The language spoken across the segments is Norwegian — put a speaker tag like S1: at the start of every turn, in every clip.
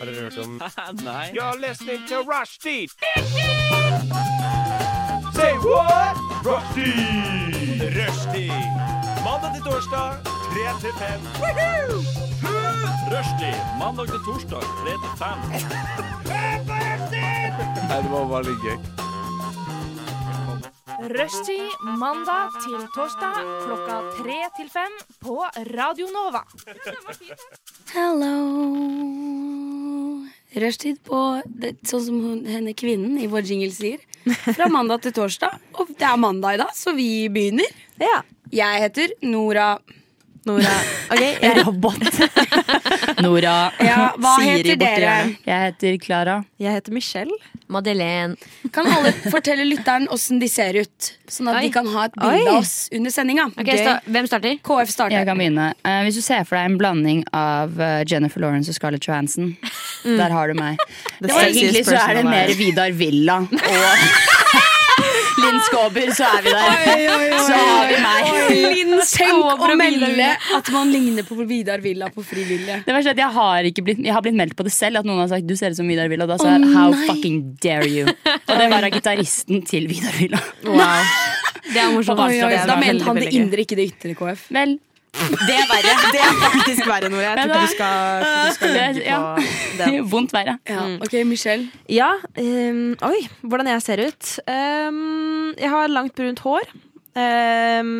S1: Har dere hørt om
S2: Nei.
S3: You're listening to Rushdie. Say what? Rushdie. Rushdie. Mandag til torsdag, 3 til 5. Rushdie. Mandag til torsdag, 3 til 5.
S2: Nei, det var bare litt gøy.
S4: Rushtid mandag til torsdag klokka tre til fem på Radio Nova.
S5: Hello. Rushtid på det, sånn som hun, henne kvinnen i vår jingle sier. Fra mandag til torsdag. Og det er mandag i dag, så vi begynner.
S6: Ja.
S5: Jeg heter Nora.
S6: Nora. Ok, jeg,
S7: Robot. Nora.
S5: Ja, hva
S7: Siri
S5: heter
S7: borti
S5: dere?
S7: hjørnet. Jeg heter Klara.
S6: jeg heter Michelle.
S8: Madeleine.
S5: Kan alle fortelle lytteren åssen de ser ut? Sånn at
S8: Oi.
S5: de kan ha et bilde
S6: Oi.
S5: av oss under sendinga.
S8: Ok,
S5: Gøy.
S8: sta Hvem starter?
S5: KF
S7: Jeg
S5: starter.
S7: kan begynne. Eh, hvis du ser for deg en blanding av eh, Jennifer Lawrence og Scarlett Johansson, der har du meg.
S6: The
S7: Og egentlig
S6: sexiest
S7: så er det
S6: person
S7: mer
S6: alive.
S7: Vidar Villa og Linn Skåber, så er vi der. Så har vi meg.
S5: Linn, tenk å
S8: Vidar
S5: melde
S8: Villa.
S5: at man ligner på Vidar Villa på frivillige.
S7: Det verste er at jeg har, ikke blitt, jeg har blitt meldt på det selv, at noen har sagt du ser ut som Vidar Villa. Og da sa jeg how fucking dare you. Og det var av gitaristen til Vidar Villa.
S8: Wow. Det er morsomt.
S5: Oi, oi,
S6: det
S5: da
S6: var
S5: mente
S6: veldig,
S5: han det
S6: veldig gøy.
S5: indre, ikke det ytre, KF.
S7: Vel, det er verre.
S6: Det er faktisk verre, Nora. Jeg
S7: Men
S6: tror ikke
S7: det-
S6: du skal, du skal
S7: Det-
S6: legge på
S7: ja.
S6: den.
S7: Vondt verre.
S5: Ja, ok, Michelle.
S6: Ja, ehm, oi, hvordan jeg ser ut. Ehm, jeg har langt brunt hår. Ehm,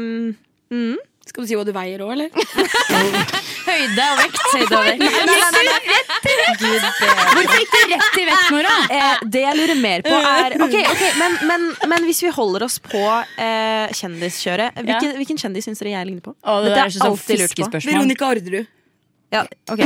S6: mm.
S5: Skal du si hva du veier òg, eller?
S8: Høyde og vekt. Høyde og vekt.
S7: Hvorfor gikk du rett til vekt, Nora?
S6: Eh, det jeg lurer mer på, er Ok, ok, men, men, men hvis vi holder oss på eh, kjendiskjøret, hvilken, hvilken kjendis syns dere jeg ligner på?
S7: Å, det
S6: Dette
S7: der
S6: har
S7: er sånn
S6: alltid lurt på.
S7: fiskespørsmål.
S5: Veronica Orderud.
S6: Ja, ok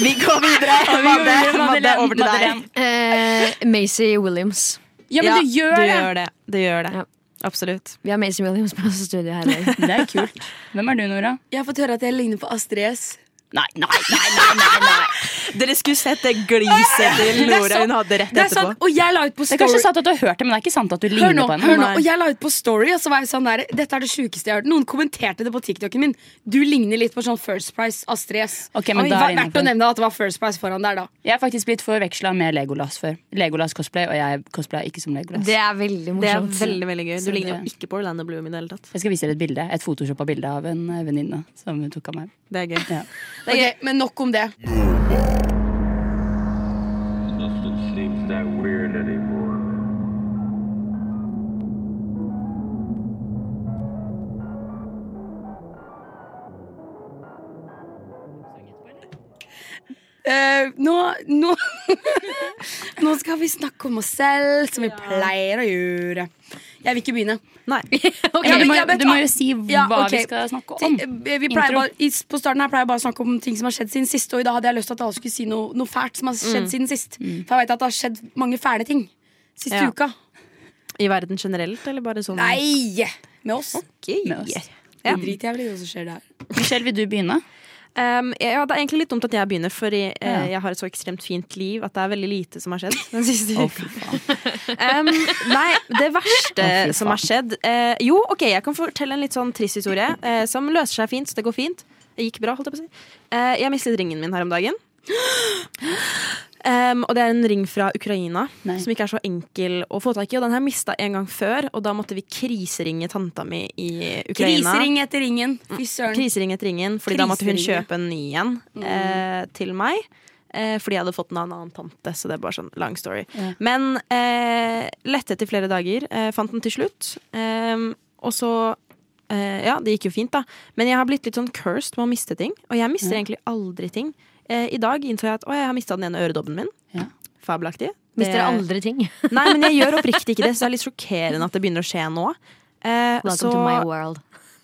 S6: Vi går videre. Madde, Madde, over til deg.
S8: Eh, Macy Williams.
S7: Ja, men
S6: Ja,
S7: du gjør
S6: du
S7: det!
S6: gjør det. Du gjør
S8: Ja.
S6: det. Absolutt.
S8: Vi har Macy Williams på oss i studio her i dag.
S7: Det er kult. Hvem er du, Nora?
S5: Jeg har fått høre at jeg ligner på Astrid S.
S7: Nei, nei, nei, nei, nei, nei.
S6: Dere skulle sett det gliset til Nora hun hadde rett
S5: Det er sant,
S6: etterpå.
S5: og jeg la ut på
S7: Det er kanskje
S5: story
S7: sant at du har hørt det, men det er ikke sant at du
S5: Hør
S7: ligner
S5: nå,
S7: på
S5: hør
S7: henne.
S5: nå,
S6: Nei.
S5: og jeg la ut på story, og så var jeg sånn der Dette er det sjukeste jeg har hørt. Noen kommenterte det på TikToken min. Du ligner litt på sånn First Price Astrid S.
S7: Ok, men
S5: Oi,
S7: da er det
S5: var verdt
S7: innenfor.
S5: å nevne at det var First Price foran der, da.
S7: Jeg har faktisk blitt forveksla med Legolas før. Legolas cosplay, og jeg cosplayer ikke som Legolas.
S8: Det er veldig
S6: Det er
S8: morsomt.
S6: veldig, veldig gøy. Du
S7: Så
S6: ligner jo
S7: det-
S6: ikke på Orlando Bloom i det hele tatt.
S7: Jeg skal vise dere et bilde, et photoshoppa bilde av en eh, venninne som hun tok av meg.
S6: Det er gøy.
S7: Ja.
S5: Ok, Men nok om det.
S9: Nothing seems that weird anymore.
S5: Eh, nå, nå, nå skal vi snakke om oss selv, som vi pleier å gjøre. Jeg vil ikke begynne.
S6: Nei.
S5: Ok,
S7: Ja, du,
S5: men
S7: må,
S5: jeg vet-
S7: du må jo si
S5: Ja,
S7: hva
S5: ok.
S7: vi skal snakke
S5: Ti-
S7: om.
S5: eh, vi pleier
S7: Intro.
S5: bare, i, på starten her pleier jeg bare å snakke om ting som har skjedd siden sist. Og i dag hadde jeg lyst til at alle skulle si noe, noe fælt som har
S7: Mm.
S5: skjedd siden sist. For jeg vet at det har skjedd mange fæle ting siste
S6: Ja.
S5: uka.
S7: Mm.
S6: I verden generelt, eller bare sånn?
S5: Nei! Med oss.
S6: Ok.
S7: Med oss.
S6: Ja.
S5: Det driter jeg vel i hva som skjer der.
S7: Michelle, vil du begynne?
S6: Um, ja, det er egentlig litt dumt at jeg begynner, for jeg, eh,
S7: Ja.
S6: jeg har et så ekstremt fint liv at det er veldig lite som har skjedd den siste uka. um, nei, det verste
S7: Å, fy faen.
S6: som har skjedd eh, Jo, ok, jeg kan fortelle en litt sånn trist historie eh, som løser seg fint, så det går fint. Det gikk bra, holdt jeg på å si. Eh, jeg mistet ringen min her om dagen. Um, og det er en ring fra Ukraina
S7: Nei.
S6: som ikke er så enkel å få tak i. Og den har jeg mista en gang før, og da måtte vi kriseringe tanta mi i Ukraina.
S5: Krisering etter ringen.
S7: Mm.
S5: Fy søren.
S6: Krisering etter ringen, fordi da måtte hun
S5: Kriseringe.
S6: kjøpe en ny en eh, til meg. Eh, fordi jeg hadde fått den av en annen tante, så det er bare sånn lang story.
S7: Ja.
S6: Men eh, lette etter flere dager, eh, fant den til slutt. Eh, og så eh, Ja, det gikk jo fint, da. Men jeg har blitt litt sånn cursed med å miste ting. Og jeg mister egentlig aldri ting. Eh, I dag innså jeg at å, jeg har mista den ene øredobben min.
S7: Ja.
S6: Fabelaktig.
S8: Mister
S6: Det-
S8: aldri ting.
S6: Nei, men jeg gjør oppriktig ikke det, så det er litt sjokkerende at det begynner å skje nå. Eh,
S8: Welcome
S6: så-
S8: to my world.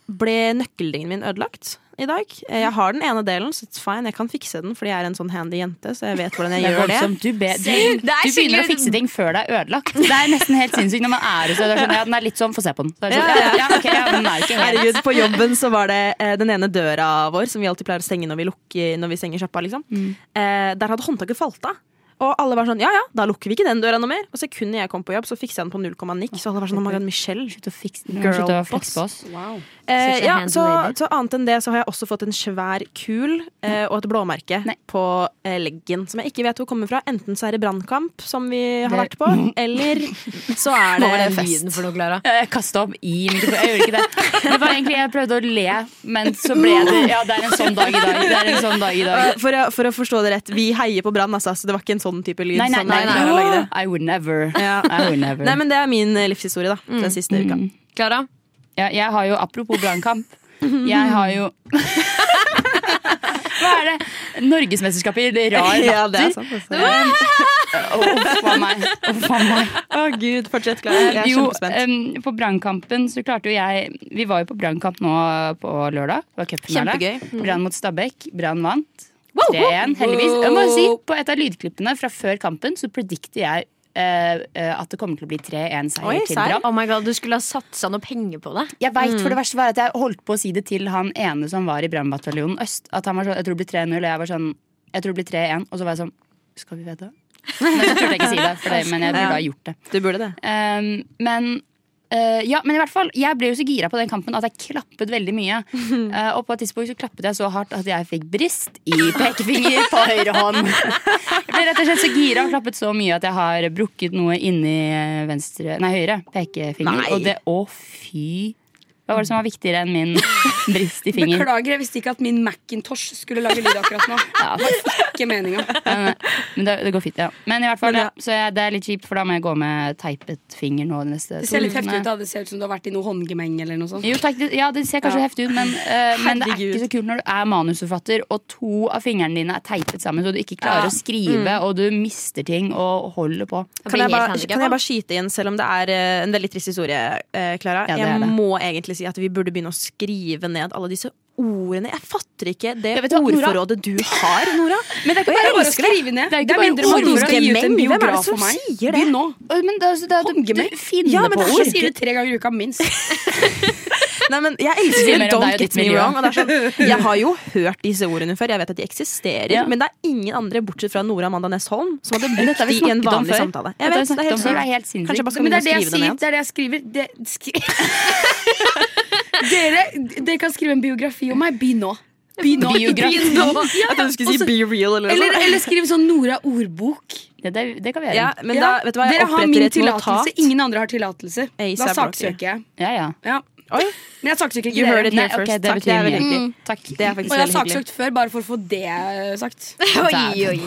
S6: ble nøkkelringen min ødelagt i dag. Eh, Jeg har den ene delen, så it's fine. Jeg kan fikse den, fordi jeg er en sånn handy jente. Så jeg vet hvordan jeg
S7: Det er
S6: gjør det.
S7: voldsomt. Du, be, du, du begynner å
S8: skikkelig-
S7: fikse ting før det er ødelagt. Det er nesten helt sinnssykt når man er hos deg. Sånn, ja, den er litt sånn, få se på den. Så er det sånn, ja, ja, ok, ja, den er ikke helt.
S6: Herregud, På jobben så var det eh, den ene
S7: Mm.
S6: døra vår, som vi alltid pleier å stenge når vi, lukker, når vi stenger sjappa. Liksom. Eh, der hadde håndtaket falt av. Og alle var sånn ja ja, da lukker vi ikke den døra noe mer. Og sekundet jeg kom på jobb, så fiksa jeg den på null komma nikk. Så alle var sånn oh my god, Michelle.
S7: Slutt å fikse
S6: Girl
S7: Slutt å flexe på oss.
S6: Eh,
S8: Such a
S6: ja,
S8: handsome
S6: så,
S8: lady.
S6: så annet enn det så har jeg også fått en svær kul eh, og et blåmerke
S7: Nei.
S6: på eh, leggen som jeg ikke vet hvor kommer fra. Enten så er det brannkamp, som vi har
S7: Det-
S6: vært på, eller så er det, fest.
S8: lyden for noe, Klara?
S7: Ja, Jeg kasta opp i mikrofonen. Jeg gjorde ikke det. Det var egentlig Jeg prøvde å le, men så ble det Ja, det er en sånn dag i dag. Det er en sånn dag i dag.
S6: Eh, For å, for å forstå det rett, vi heier på brann, altså, så det var ikke en sånn type lyd.
S7: Nei, nei,
S6: som
S7: nei.
S6: Clara
S7: nei.
S6: lagde.
S7: I would never.
S6: Ja.
S7: I would never.
S6: Nei, men det er min eh, livshistorie, da. Den siste uka.
S8: Klara?
S7: Ja, jeg har jo, apropos brannkamp Jeg har jo Hva er det? Norgesmesterskapet i rar latter
S6: Ja, det er sant. altså.
S7: Åh, Uff a meg, uff a meg.
S6: Å gud, fortsett, Klara. Jeg er
S7: Jo, eh,
S6: kjempespent.
S7: em, på brannkampen så klarte jo jeg Vi var jo på brannkamp nå på lørdag Det var cupfinale.
S6: Kjempegøy. Mm.
S7: Brann mot Stabæk, Brann vant 3-1, heldigvis Jeg må si, på et av lydklippene fra før kampen Så predikter jeg eh, eh, at det kommer til å bli 3-1
S6: Oi,
S7: seier til
S6: serr?
S7: Brann
S8: Oh my god, Du skulle ha satsa noe penger på det.
S7: Jeg vet, for det verste var at jeg holdt på å si det til han ene som var i Brannbataljonen Øst. At han var sånn, jeg tror det blir 3-0, og jeg var sånn, jeg tror det blir 3-1. Og så var jeg sånn, skal vi vite det? Men så turte jeg ikke si det, for det, men jeg burde ha gjort det.
S6: Du burde det.
S7: Ehm, men eh, ja, men i hvert fall, jeg ble jo så gira på den kampen at jeg klappet veldig mye. Eh, og på et tidspunkt så klappet jeg så hardt at jeg fikk brist i pekefinger på høyre hånd. Jeg ble rett og slett så gira og klappet så mye at jeg har brukket noe inni eh, venstre, nei, høyre pekefinger.
S6: Nei.
S7: Og det, å fy Hva var det som var viktigere enn min brist i finger?
S5: Beklager, jeg visste ikke at min Macintosh skulle lage lyd akkurat nå. Det var ikke meninga.
S7: Men, men det, det går fint, ja. Men i hvert fall, ja. Så jeg, det er litt kjipt, for da må jeg gå med teipet finger nå de neste
S5: Det ser litt
S7: ukene.
S5: heftig ut. da Det ser ut som du har vært i noe håndgemeng eller noe sånt.
S7: Jo, takk, det, ja, det ser kanskje heftig ut, men, eh, men det er
S6: Herregud.
S7: ikke så kult når du er manusforfatter, og to av fingrene dine er teipet sammen, så du ikke klarer å skrive, og du mister ting og holder på.
S6: Kan jeg,
S8: blir helt
S6: bare,
S8: handicap,
S6: kan jeg
S8: da.
S6: bare skyte inn, selv om det er eh, en veldig trist historie, eh, Klara?
S7: Ja, det er
S6: jeg
S7: det.
S6: må egentlig si at vi burde begynne å skrive ned alle disse ordene. Jeg fatter ikke det
S7: Ja, vet du hva, Nora?
S6: ordforrådet du har, Nora.
S7: Men det er
S6: Og
S7: ikke
S6: jeg
S7: bare å
S6: elsker det.
S5: Skriv ned.
S7: Det er ikke
S5: Det er
S7: bare
S5: mindre moro
S7: ord.
S5: å gi ut en
S6: Hvem er det
S5: biograf
S6: som
S5: for meg.
S6: sier det?
S5: Begynn nå.
S7: Men det, er- altså, det, er- du,
S5: Håndgemeng?
S7: du finner
S6: Ja, men
S7: på
S6: det er
S7: ord.
S5: Jeg sier det tre ganger i uka minst.
S6: Nei, men jeg
S7: Sier
S6: elsker
S7: mer om deg
S6: Don't
S7: og ditt
S6: get me
S7: miljø.
S6: wrong. Og det er sånn, jeg har jo hørt disse ordene før, jeg vet at de eksisterer.
S7: Ja.
S6: Men det er ingen andre, bortsett fra Nora Amanda Næss Holm, som hadde
S7: Men dette
S6: brukt
S7: har vi
S6: de i en
S7: snakket om
S6: vanlig
S7: før.
S6: samtale.
S7: Dette har
S6: Jeg
S7: vi
S6: vet, det er
S7: snakket om
S6: helt
S7: før, det
S6: sykt.
S7: er helt sinnssykt.
S6: Kanskje jeg bare skal
S7: Men det er det jeg sier,
S6: begynne å skrive det ned.
S7: det er det jeg skriver. Det, skri
S5: Dere, dere kan skrive en biografi om meg. Begynn nå. Begynn nå. ikke
S7: Biografi.
S5: begynn nå.
S6: Jeg trodde du skulle si be real eller noe
S5: Eller,
S6: sånt.
S5: eller skriv sånn Nora ordbok.
S7: det, det, det kan vi gjøre.
S6: Ja,
S7: Ja,
S6: men da, vet du hva, jeg
S5: Dere har
S6: oppretter
S5: min
S6: et notat.
S5: tillatelse. Ingen andre har tillatelse. Da
S6: ASAP Rocky.
S5: saksøker jeg.
S7: ja.
S5: Ja.
S6: Oi,
S5: Men jeg saksøker
S6: you
S5: ikke
S6: heard
S5: dere.
S6: it here
S7: Nei, ok,
S6: first.
S7: det
S6: Takk,
S7: betyr
S6: det Mm. er
S7: mye.
S6: veldig hyggelig.
S7: Takk.
S6: Det er
S5: Og
S6: faktisk
S5: jeg har
S6: veldig hyggelig.
S5: saksøkt før, bare for å få det eh, sagt.
S8: Oi, oi, oi.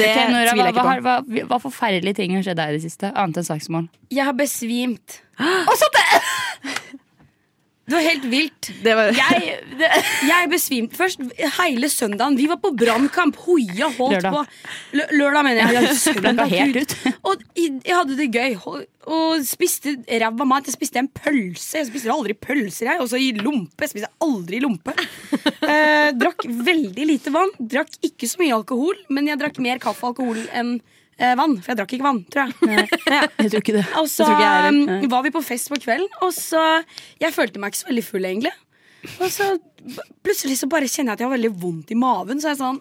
S6: Det
S7: Ok, Nora,
S6: tviler
S7: hva,
S6: jeg
S7: hva,
S6: ikke på.
S7: har- hva, hva forferdelige ting har skjedd deg i det siste? Annet enn saksmål.
S5: Jeg har besvimt. Og så det! Det var helt vilt.
S6: Det var,
S5: Jeg, det, jeg besvimte først hele søndagen. Vi var på brannkamp. Hoia holdt
S7: Lørdag.
S5: på. Lø, lørdag, mener jeg. Ja, søndag,
S7: Blokka helt
S5: Gud.
S7: ut.
S5: Og i- jeg hadde det gøy og, og spiste ræva mat. Jeg spiste en pølse. Jeg spiser aldri pølser, jeg. Også i lompe. Jeg spiser aldri i lompe. Eh, drakk veldig lite vann. Drakk ikke så mye alkohol, men jeg drakk mer kaffe og alkohol enn eh, vann. For jeg drakk ikke vann, tror jeg. Eh,
S7: Jeg tror ikke det.
S5: Og så
S6: tror ikke jeg heller.
S5: um, var vi på fest på kvelden, og så Jeg følte meg ikke så veldig full, egentlig. Og så b- plutselig så bare kjenner jeg at jeg har veldig vondt i maven. Så er jeg sånn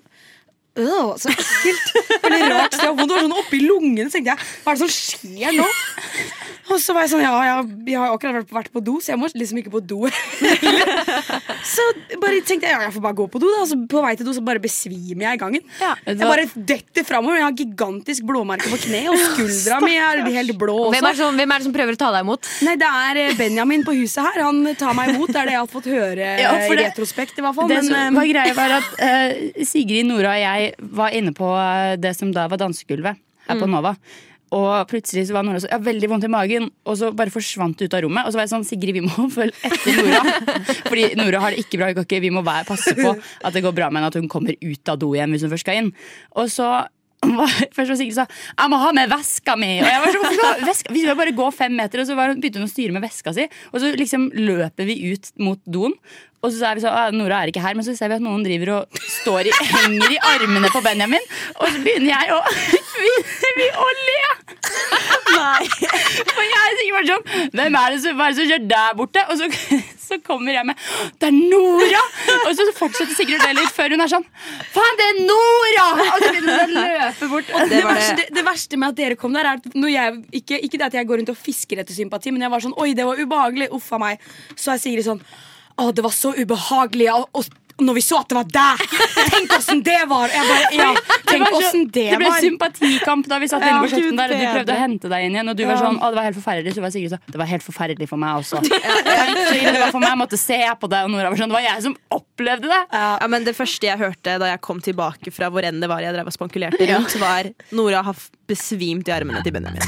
S5: «Åh, så ekkelt. Veldig rart sted å ha vondt. Det var sånn oppi lungene. Så tenkte jeg, hva er det som skjer nå? Og så var jeg sånn, ja, jeg, jeg har akkurat vært på, vært på do, så jeg må liksom ikke på do. så bare tenkte jeg, ja, jeg får bare gå på do, da. Og så på vei til do så bare besvimer jeg i gangen.
S7: Vet
S5: Jeg
S7: du hva?
S5: bare detter framover. Jeg har gigantisk blåmerke på kneet, og skuldra mi er helt blå også.
S8: Hvem er, det som, hvem er det som prøver å ta deg imot?
S5: Nei, det er eh, Benjamin på huset her. Han tar meg imot. Det er det jeg har fått høre eh,
S7: Ja, for
S5: i
S7: det-
S5: retrospekt. i hvert fall
S7: Det
S5: Men,
S7: som
S5: eh,
S7: var greia var at eh, Sigrid, Nora og jeg var inne på eh, det som da var dansegulvet her
S5: Mm.
S7: på Nova. Og plutselig så var Nora så, jeg har veldig vondt i magen, og så bare forsvant det ut av rommet. Og så var jeg sånn, Sigrid, vi må følge etter Nora. Fordi Nora har det ikke bra. vi kan ikke- Vi må være, passe på at det går bra med henne, at hun kommer ut av do igjen hvis hun først skal inn. Og så var, først var Sigrid sa jeg må ha med veska mi. Og jeg var sånn, «Hvorfor skal- veska? Vi skulle bare gå fem meter, og så var, hun- begynte hun å styre med veska si. Og så liksom løper vi ut mot doen. Og så er vi sånn, «Ah, Nora er ikke her, men så ser vi at noen driver og står i, henger i armene på Benjamin. Og så begynner jeg å, begynner vi å le. For jeg er sikkert bare sånn Hvem er det som, hva er det som skjer der borte? Og så, så kommer jeg med «Å, Det er Nora! Og så fortsetter Sigrid å le litt før hun er sånn Faen, det er Nora! Og så begynner hun å løpe
S6: løpe bort.
S5: Det, verste, det verste med at dere kom der, er at når jeg, ikke, ikke det at jeg går rundt og fisker etter sympati, men jeg var sånn Oi, det var ubehagelig. Uff a meg. Så er Sigrid sånn Å, det var så ubehagelig. Og, og når vi så at det var deg! Tenk åssen det var! Jeg bare, ja, tenk
S7: var så-
S5: åssen det,
S7: det ble
S5: var.
S7: sympatikamp da vi satt inne på
S6: Gud
S7: kjøkkenet der, og du
S6: bedre.
S7: prøvde å hente deg inn igjen. Og du var sånn 'Å, det var helt forferdelig'. Så var Sigrid sånn 'Det var helt forferdelig for meg også'. Så ille det var for meg, jeg måtte se på deg, og Nora var sånn 'Det var jeg som opplevde det'.
S6: Ja, men Det første jeg hørte da jeg kom tilbake fra hvor enn det var jeg drev og spankulerte rundt, var Nora har f- besvimt i armene til Benjamin.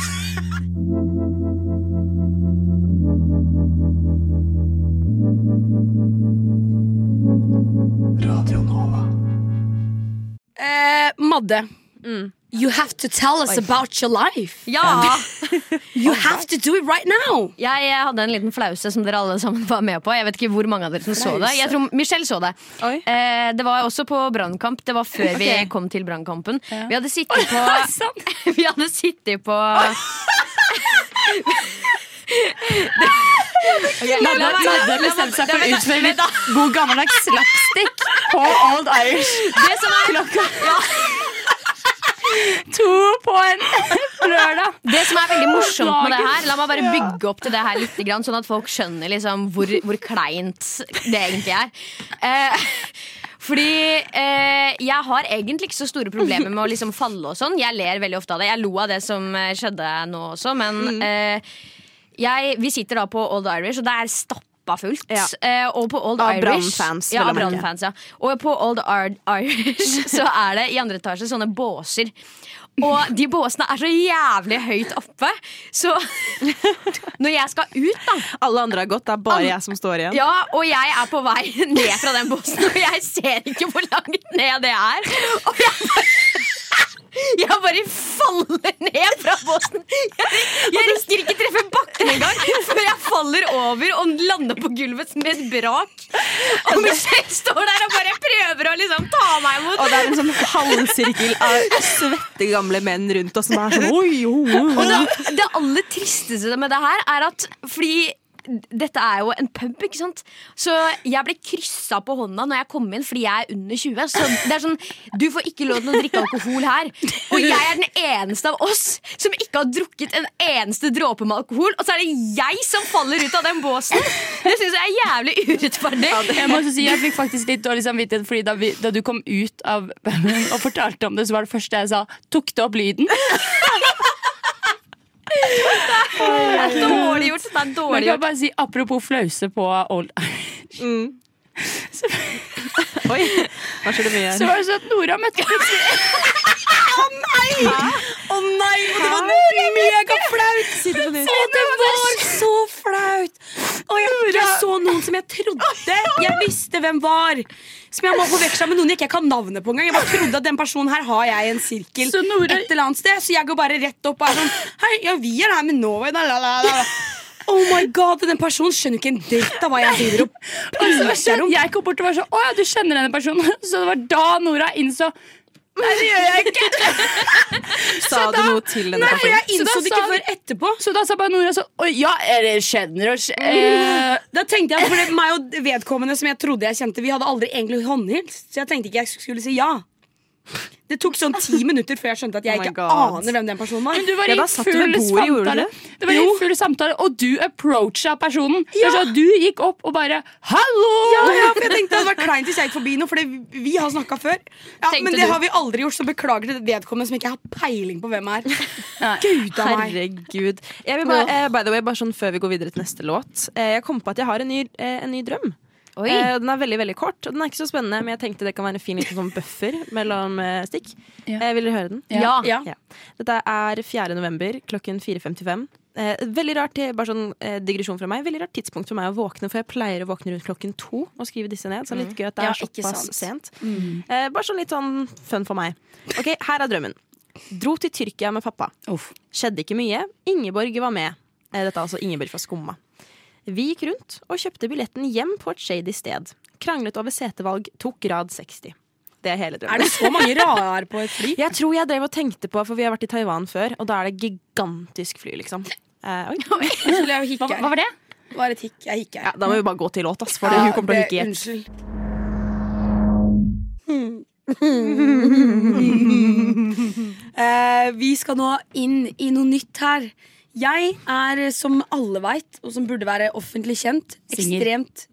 S5: Eh, Madde, you have to tell us about your life.
S8: Ja!
S5: You have to do it right now!
S8: Jeg, jeg hadde en liten flause som dere alle sammen var med på. Jeg vet ikke hvor mange av dere som så det. Jeg tror Michelle så det.
S6: Oi.
S8: Eh, det var også på Brannkamp. Det var før vi kom til Brannkampen. Vi hadde sittet på Vi hadde sittet på Ok, la- la- la-
S7: Madde bestemte seg for å utføre litt god gammeldags slapstick på Old Irish.
S8: Det som er
S7: To på en lørdag.
S8: Det som er veldig morsomt med det her La meg bare bygge opp til det her litt grann, Sånn at folk skjønner liksom hvor, hvor kleint det egentlig er eh, Fordi eh, jeg har egentlig ikke så store problemer med å liksom falle og sånn Jeg ler veldig ofte av det Jeg lo av det som eh, skjedde nå også Men eh, jeg, vi sitter da på Old Irish Og det er stappa Fullt.
S6: Ja.
S8: Eh, og på Old
S6: Av
S8: Irish
S6: Brann-fans,
S8: ja,
S6: vel å
S8: av
S6: merke.
S8: Brann-fans, ja. Og på Old Ar- Irish så er det i andre etasje sånne båser. Og de båsene er så jævlig høyt oppe, så når jeg skal ut, da
S6: Alle andre har gått, det er bare jeg som står igjen.
S8: ja, og jeg er på vei ned fra den båsen, og jeg ser ikke hvor langt ned det er. Og jeg bare, jeg bare faller ned fra båsen. Jeg, jeg rekker ikke treffe bakken engang før jeg faller over og lander på gulvet med et brak. Og Michelle står der og bare prøver å liksom ta meg imot.
S6: Og det er en sånn halvsirkel av svette gamle menn rundt oss som er sånn oi, oi, oi.
S8: Og det, det aller tristeste med det her er at fordi dette er jo en pub, ikke sant? Så jeg ble kryssa på hånda når jeg kom inn fordi jeg er under 20. Så det er sånn, Du får ikke lov til å drikke alkohol her. Og jeg er den eneste av oss som ikke har drukket en eneste dråpe med alkohol. Og så er det jeg som faller ut av den båsen! Det syns jeg er jævlig urettferdig.
S7: Jeg må også si, jeg fikk faktisk litt dårlig samvittighet, Fordi da, vi, da du kom ut av og fortalte om det, så var det første jeg sa, tok det opp lyden?
S8: Det er dårlig gjort. Det er
S7: Men jeg kan
S8: dårlig gjort.
S7: bare si Apropos flause på Old Irish.
S6: oi. Hva skjer det mye
S7: Så
S6: her?
S7: var det sånn at Nora møtte plutselig
S5: Å nei, og det var megaflaut! Å, det var så flaut! Og jeg, jeg så noen som jeg trodde jeg visste hvem var. Som jeg må forveksle med noen jeg ikke kan navnet på engang. Jeg bare trodde at den personen her har jeg i en sirkel
S7: Så Nora-
S5: et eller annet sted. Så jeg går bare rett opp og er sånn Hei, ja, vi er her med Norway, da, la, la, la. Oh my god, Den personen skjønner ikke en dritt av hva jeg driver og prater om.
S7: sånn Jeg kom bort og var sånn Å ja, du kjenner denne personen. Så det var da Nora innså Nei, det gjør jeg ikke.
S6: Sa du noe til denne
S5: For
S6: personen?
S5: Altså, jeg innså
S7: Så da
S5: det ikke
S7: sa-
S5: før etterpå.
S7: Så da sa bare Nora sånn Å ja, eller kjenner og kj-
S6: Mm.
S7: eh,
S5: Da tenkte jeg, for det, meg og vedkommende som jeg trodde jeg kjente Vi hadde aldri egentlig håndhilst Så jeg tenkte ikke jeg skulle si ja Det tok sånn ti minutter før jeg skjønte at jeg
S6: Oh my
S5: ikke
S6: God.
S5: aner hvem den personen var
S7: Men du var
S6: Ja,
S7: i
S6: da satt du ved
S7: full samtale.
S6: bordet, gjorde du
S7: Du var i full samtale, og du approacha personen. Det var sånn at du gikk opp og bare 'hallo'!
S5: ja, ja, for jeg tenkte det hadde vært kleint hvis jeg gikk forbi noe For det- vi har snakket før ja,
S8: Tenkte
S5: Men det
S8: du.
S5: har vi aldri gjort, så beklager til vedkommende Som ikke har peiling på hvem er Gud av meg
S6: Herregud. Jeg vil bare, eh, by the way, bare sånn før vi går videre til neste låt. Eh, jeg kom på at jeg har en ny, eh, en ny drøm.
S8: Oi.
S6: Eh, og den er veldig veldig kort, og den er ikke så spennende, men jeg tenkte det kan være en fin liten sånn buffer mellom eh, stikk.
S7: Ja.
S6: Eh, vil dere høre den?
S8: Ja.
S5: Ja.
S6: Ja. Dette er 4. november klokken 4.55. Eh, veldig rart, eh, bare sånn eh, digresjon fra meg Veldig rart tidspunkt for meg å våkne, for jeg pleier å våkne rundt klokken to og skrive disse ned. Så det er litt gøy at det
S5: Mm. Ja,
S6: er
S5: ikke
S6: såpass
S5: sant. Mm.
S6: sent. Eh, bare sånn litt sånn fun for meg. Ok, Her er drømmen. Dro til Tyrkia med pappa.
S7: Uff.
S6: Skjedde ikke mye. Ingeborg var med. Eh, Dette er altså Ingeborg fra Skumma. Vi gikk rundt og kjøpte billetten hjem på et shady sted. Kranglet over setevalg, tok grad 60. Det er hele
S5: Er
S6: drømmen.
S5: det så mange rar på et fly?
S6: Jeg tror jeg drev og tenkte på, for vi har vært i Taiwan før, og da er det gigantisk fly, liksom. Eh, oi.
S5: Jeg skulle jo
S7: Hva,
S5: hikke
S7: hva
S5: her
S7: var det?
S5: Det var et hikk, jeg hikker
S6: Ja,
S5: her
S6: da må vi bare gå til låt, ass, for det- hun kommer til
S5: det-
S6: å hikke i ett.
S5: Unnskyld eh, vi skal nå inn i noe nytt her. Jeg er, som alle veit, og som burde være offentlig kjent,
S7: Singel.
S5: ekstremt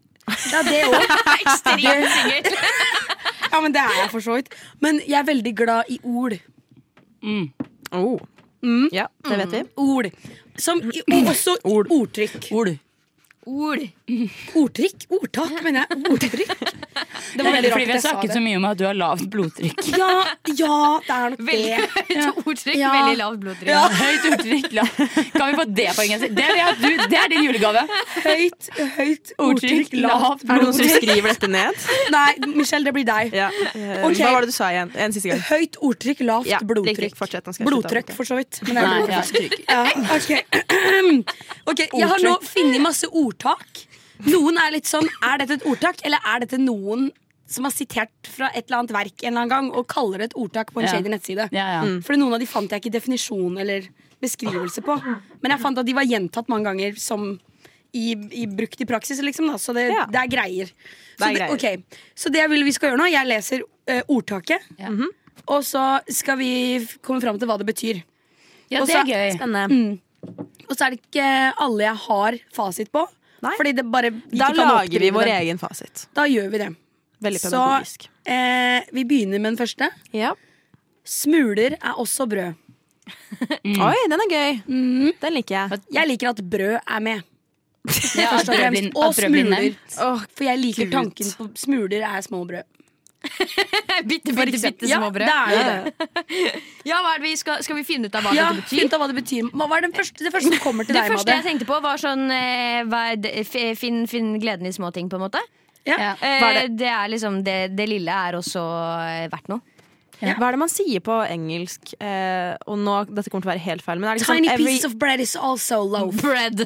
S5: Ja, det òg.
S8: Ekstremt singel.
S5: Ja, men det er jeg for så vidt. Men jeg er veldig glad i ord.
S6: Oh. Ja, det vet vi.
S5: Ord. Som, og også ordtrykk.
S7: Ord.
S8: Ord.
S5: Ordtrykk? Ordtak, mener jeg. Ordtrykk. Det
S7: Det
S5: var
S7: er
S5: veldig rart
S7: fordi vi
S5: jeg
S7: har
S5: sa
S7: snakket
S5: det.
S7: så mye om at du har lavt blodtrykk.
S5: Ja, ja, det er nok
S8: Veldig
S5: det.
S8: høyt ordtrykk,
S5: Ja.
S8: veldig lavt blodtrykk.
S5: Ja.
S7: Høyt ordtrykk. lavt- Kan vi få det poenget? Det er, det- du, det er din julegave.
S5: Høyt, høyt
S7: Ordtrykk,
S5: ordtrykk, lavt
S7: lavt Er det noen som
S5: blodtrykk.
S6: skriver dette ned?
S5: Nei, Michelle, det blir deg.
S6: Ja. eh,
S5: Ok.
S6: Hva var det du sa igjen? En siste gang.
S5: Høyt ordtrykk, lavt
S6: Ja,
S5: blodtrykk.
S6: riktig. Fortsett, nå skal jeg slutte å
S5: Blodtrykk,
S6: avbryte.
S5: for så vidt. Men det
S7: Nei,
S5: er
S7: ja.
S5: Ja, ok. ok, Jeg har nå funnet masse ordtak. Noen er litt sånn Er dette et ordtak, eller er dette noen som har sitert fra et eller annet verk en eller annen gang og kaller det et ordtak på en
S7: Ja.
S5: shady nettside?
S7: Ja, ja.
S6: Mm.
S5: Mm. Fordi noen av de fant jeg ikke definisjon eller beskrivelse på. Men jeg fant at de var gjentatt mange ganger som i, i brukt i praksis, liksom. Da. Så det,
S6: Ja.
S5: det er greier. Så
S6: Det er
S5: ok. Så det jeg vil vi skal gjøre nå, jeg leser eh, ordtaket.
S7: Ja.
S6: Mhm.
S5: Og så skal vi f- komme fram til hva det betyr.
S7: Ja,
S5: Og
S7: det
S5: så-
S7: er gøy.
S6: Spennende.
S5: Og så er det ikke alle jeg har fasit på.
S6: Nei.
S5: Fordi det bare ikke
S6: Da
S5: kan
S6: lager vi
S5: oppdrive
S6: vår
S5: det.
S6: egen fasit.
S5: Da gjør vi det.
S6: Veldig
S5: Så-
S6: pedagogisk.
S5: Eh, vi begynner med den første.
S6: Ja.
S5: Smuler er også brød. Mm.
S6: Oi, den er gøy. Den liker jeg.
S5: Jeg liker at brød er med.
S7: Ja, at
S5: Først og
S7: brød
S5: fremst.
S7: blir-
S5: Og
S7: at brød blir
S5: smuler.
S7: nevnt.
S6: Åh,
S5: For jeg liker
S7: Kult.
S5: tanken på smuler er små brød.
S8: Bitte, bitte, bitte
S5: Ja,
S8: små
S5: det
S8: brød.
S5: er jo det.
S8: Ja, hva er det vi skal, skal vi finne ut av hva
S5: Ja,
S8: dette betyr?
S5: Finn ut av hva det betyr. Hva hva er den første, det første som kommer til
S8: Det
S5: deg,
S8: første jeg
S5: Madde?
S8: tenkte på, var sånn eh, hva er det- f- finn, finn gleden i små ting, på en måte.
S7: Ja.
S8: Eh,
S6: Hva er
S8: det? er liksom det, det lille er også eh, verdt noe.
S6: Hva er det man sier på engelsk? Eh, og nå, dette kommer til å være helt feil, men er det ikke
S5: Tiny
S6: sånn every,
S5: pieces of bread is also loaf.
S8: Bread.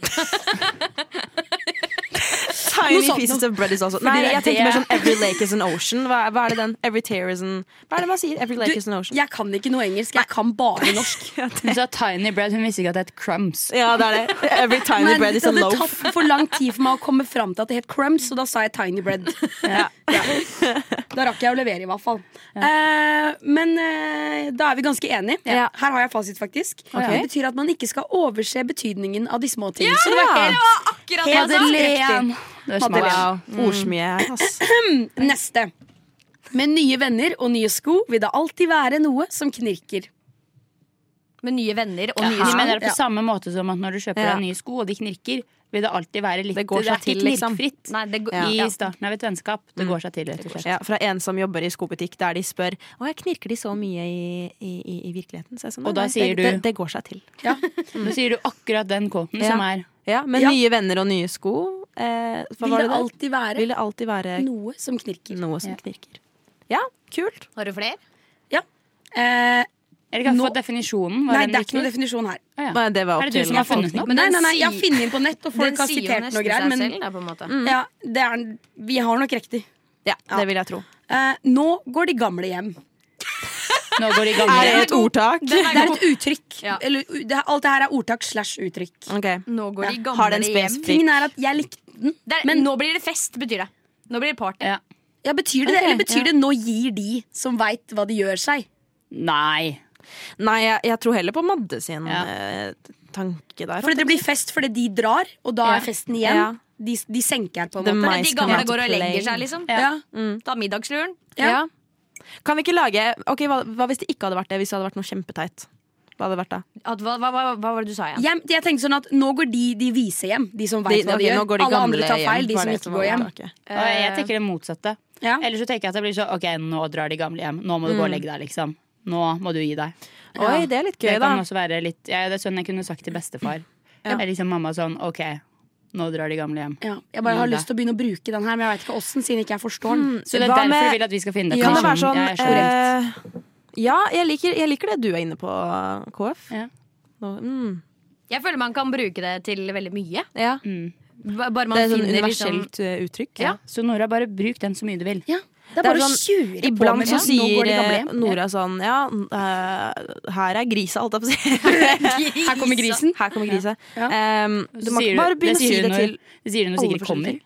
S6: tiny
S5: Noe sånt
S6: pieces of bread is also
S7: det
S6: Nei,
S7: er
S6: jeg tenkte
S7: det-
S6: mer sånn every lake is an ocean. Hva, er- hva er det den? Every tear is an Hva er det man sier? Every
S5: Du,
S6: lake is an ocean.
S5: jeg kan ikke noe engelsk, jeg kan bare norsk.
S7: Hun sa tiny bread, hun visste ikke at det het crumbs.
S6: Ja, det er det. Every tiny
S5: Men
S6: bread
S5: det
S6: is a
S5: hadde
S6: loaf.
S5: tatt for lang tid for meg å komme fram til at det het crumbs, så da sa jeg tiny bread.
S6: Ja.
S5: Ja. Da rakk jeg å levere, i hvert fall. Eh, men eh, da er vi ganske enige.
S6: Ja.
S5: Her har jeg fasit, faktisk. Det betyr at man ikke skal overse betydningen av de små tingene. Så det var
S6: Ja.
S5: helt
S8: Akkurat
S5: Helt
S8: det, altså.
S5: riktig.
S7: Det er
S6: Wow.
S7: smart.
S5: Mm.
S6: Ordsmie her, ass.
S5: Neste. Med nye venner og nye sko vil det alltid være noe som knirker.
S8: Med nye venner og nye
S7: De
S8: menn.
S7: mener det på samme måte som at når du kjøper
S6: Ja.
S7: deg nye sko, og de knirker, vil det alltid være litt
S6: Det går seg
S7: er ikke
S6: til, liksom.
S7: knirkfritt.
S8: Nei, det går-
S7: I starten av et vennskap. Det går seg til, rett og slett.
S6: Ja, fra en som jobber i skobutikk, der de spør Å, jeg knirker de så mye i, i, i, i virkeligheten. Så jeg er sånn,
S7: Og
S6: «Nei,
S7: da sier
S6: det,
S7: du-
S6: det, det går seg til.
S7: Nå sier du akkurat den kåten
S6: Ja.
S7: som er
S6: Ja, Med
S5: Ja.
S6: nye venner og nye sko. Eh, hva
S5: Vil
S6: var
S5: det
S6: det der?
S5: alltid være
S6: Vil det Mm. alltid være
S5: noe som knirker.
S6: noe som
S7: Ja.
S6: knirker. Ja, kult.
S8: Har du flere?
S5: Eh,
S7: Eller kan jeg
S5: Nå-
S7: få definisjonen? Hva
S5: nei,
S7: den
S5: det er ikke
S7: betyr?
S5: noen definisjon her.
S7: Å, ja.
S6: Nei, det var
S7: Er det
S6: opp
S7: du
S6: til
S7: som har
S6: folk.
S7: funnet den opp?
S5: Nei,
S8: den
S5: nei, nei, Jeg har
S8: sier-
S5: funnet den på nett, og folk
S8: Den
S5: har
S8: sier jo
S5: sitert
S8: nesten
S5: noe greier.
S8: seg
S5: Men
S8: selv, da, på en måte.
S5: ja, det er, vi har nok riktig.
S6: Ja, det vil jeg tro.
S5: Eh, nå går de gamle hjem.
S7: Nå går de
S6: Er det
S7: gamle.
S6: et ordtak?
S5: Det er et uttrykk.
S8: Ja.
S5: Eller, u- det, alt det her er ordtak slash uttrykk.
S6: Ok.
S8: Nå går de
S6: Har
S8: gamle
S6: den
S8: hjem.
S6: spesifikk
S5: Tingen er at jeg likte den.
S8: Det er- nå blir det fest, betyr det. Nå blir det party.
S7: Ja.
S5: Ja, betyr det det? Eller betyr det 'nå gir de som veit hva de gjør seg'?
S7: Nei.
S6: Nei, jeg, jeg tror heller på Madde sin
S7: Ja.
S6: eh, tanke der.
S5: Fordi det blir fest fordi de drar, og da
S7: Ja.
S5: er festen igjen.
S6: Ja.
S5: De, de senker den på en
S6: The
S5: måte.
S6: mice
S8: De
S6: come
S8: gamle
S6: out
S8: går
S6: to
S8: og
S6: play.
S8: legger seg, liksom.
S5: Ja.
S8: Ta middagsluren.
S6: altså. Mm. Ja. Kan vi ikke lage Ok, hva, hva hvis det ikke hadde vært det? Hvis det hadde vært noe kjempeteit? Hva hadde det vært da?
S8: At, hva, hva, hva, hva var det du sa igjen?
S5: Hjem, jeg tenkte sånn at Nå går de de vise hjem, de som
S6: De-
S5: veit hva
S6: ok,
S5: de gjør.
S6: nå går de
S5: Alle
S6: gamle
S5: andre tar
S6: hjem,
S5: feil, de
S6: var
S5: som
S6: det
S5: ikke går
S6: var
S5: hjem.
S6: ordtaket.
S7: Og jeg tenker det motsatte.
S5: Ja.
S7: Eller så tenker jeg at det blir sånn OK, nå drar de gamle hjem. Nå må du gå og legge deg, liksom. Nå må du gi deg.
S6: Oi, det er litt gøy,
S7: det
S6: da.
S7: kan også være litt ja, Det er sånn jeg kunne sagt til bestefar. Eller liksom mamma sånn OK, nå drar de gamle hjem.
S5: Ja. Jeg bare har
S7: Nå da.
S5: lyst til å begynne å bruke den her, men jeg veit ikke åssen, siden ikke jeg forstår den.
S7: Så det er
S6: Hva
S7: derfor
S6: med-
S7: jeg vil at vi skal finne
S6: Kan det være
S7: definisjonen.
S6: sånn
S7: Jeg er så redd.
S6: eh, Ja, jeg liker, jeg liker det du er inne på, KF.
S7: Ja.
S6: Nå, mm,
S8: Jeg føler man kan bruke det til veldig mye.
S6: ja.
S8: B- Bare man
S6: Det er sånn
S8: finner liksom
S6: universelt eh, uttrykk.
S8: Ja.
S7: Så Nora, bare bruk den så mye du vil.
S5: Ja. Det er
S6: Det er
S5: bare å
S6: sånn,
S5: tjure på
S6: Iblant
S5: med
S6: så
S5: det. Nå
S6: sier
S5: går de gamle
S6: eh,
S5: hjem.
S6: Nora sånn Ja, eh, her er grisa, holdt jeg på å si.
S5: Her kommer grisen.
S6: Her kommer grisa.
S5: Ja.
S6: Em,
S7: Så
S6: du må
S7: sier
S6: bare begynne å
S7: det sier
S6: si
S7: hun
S6: det
S7: når,
S6: til
S7: Det sier hun når
S6: alle
S7: Sigrid
S6: forskjellige
S7: kommer.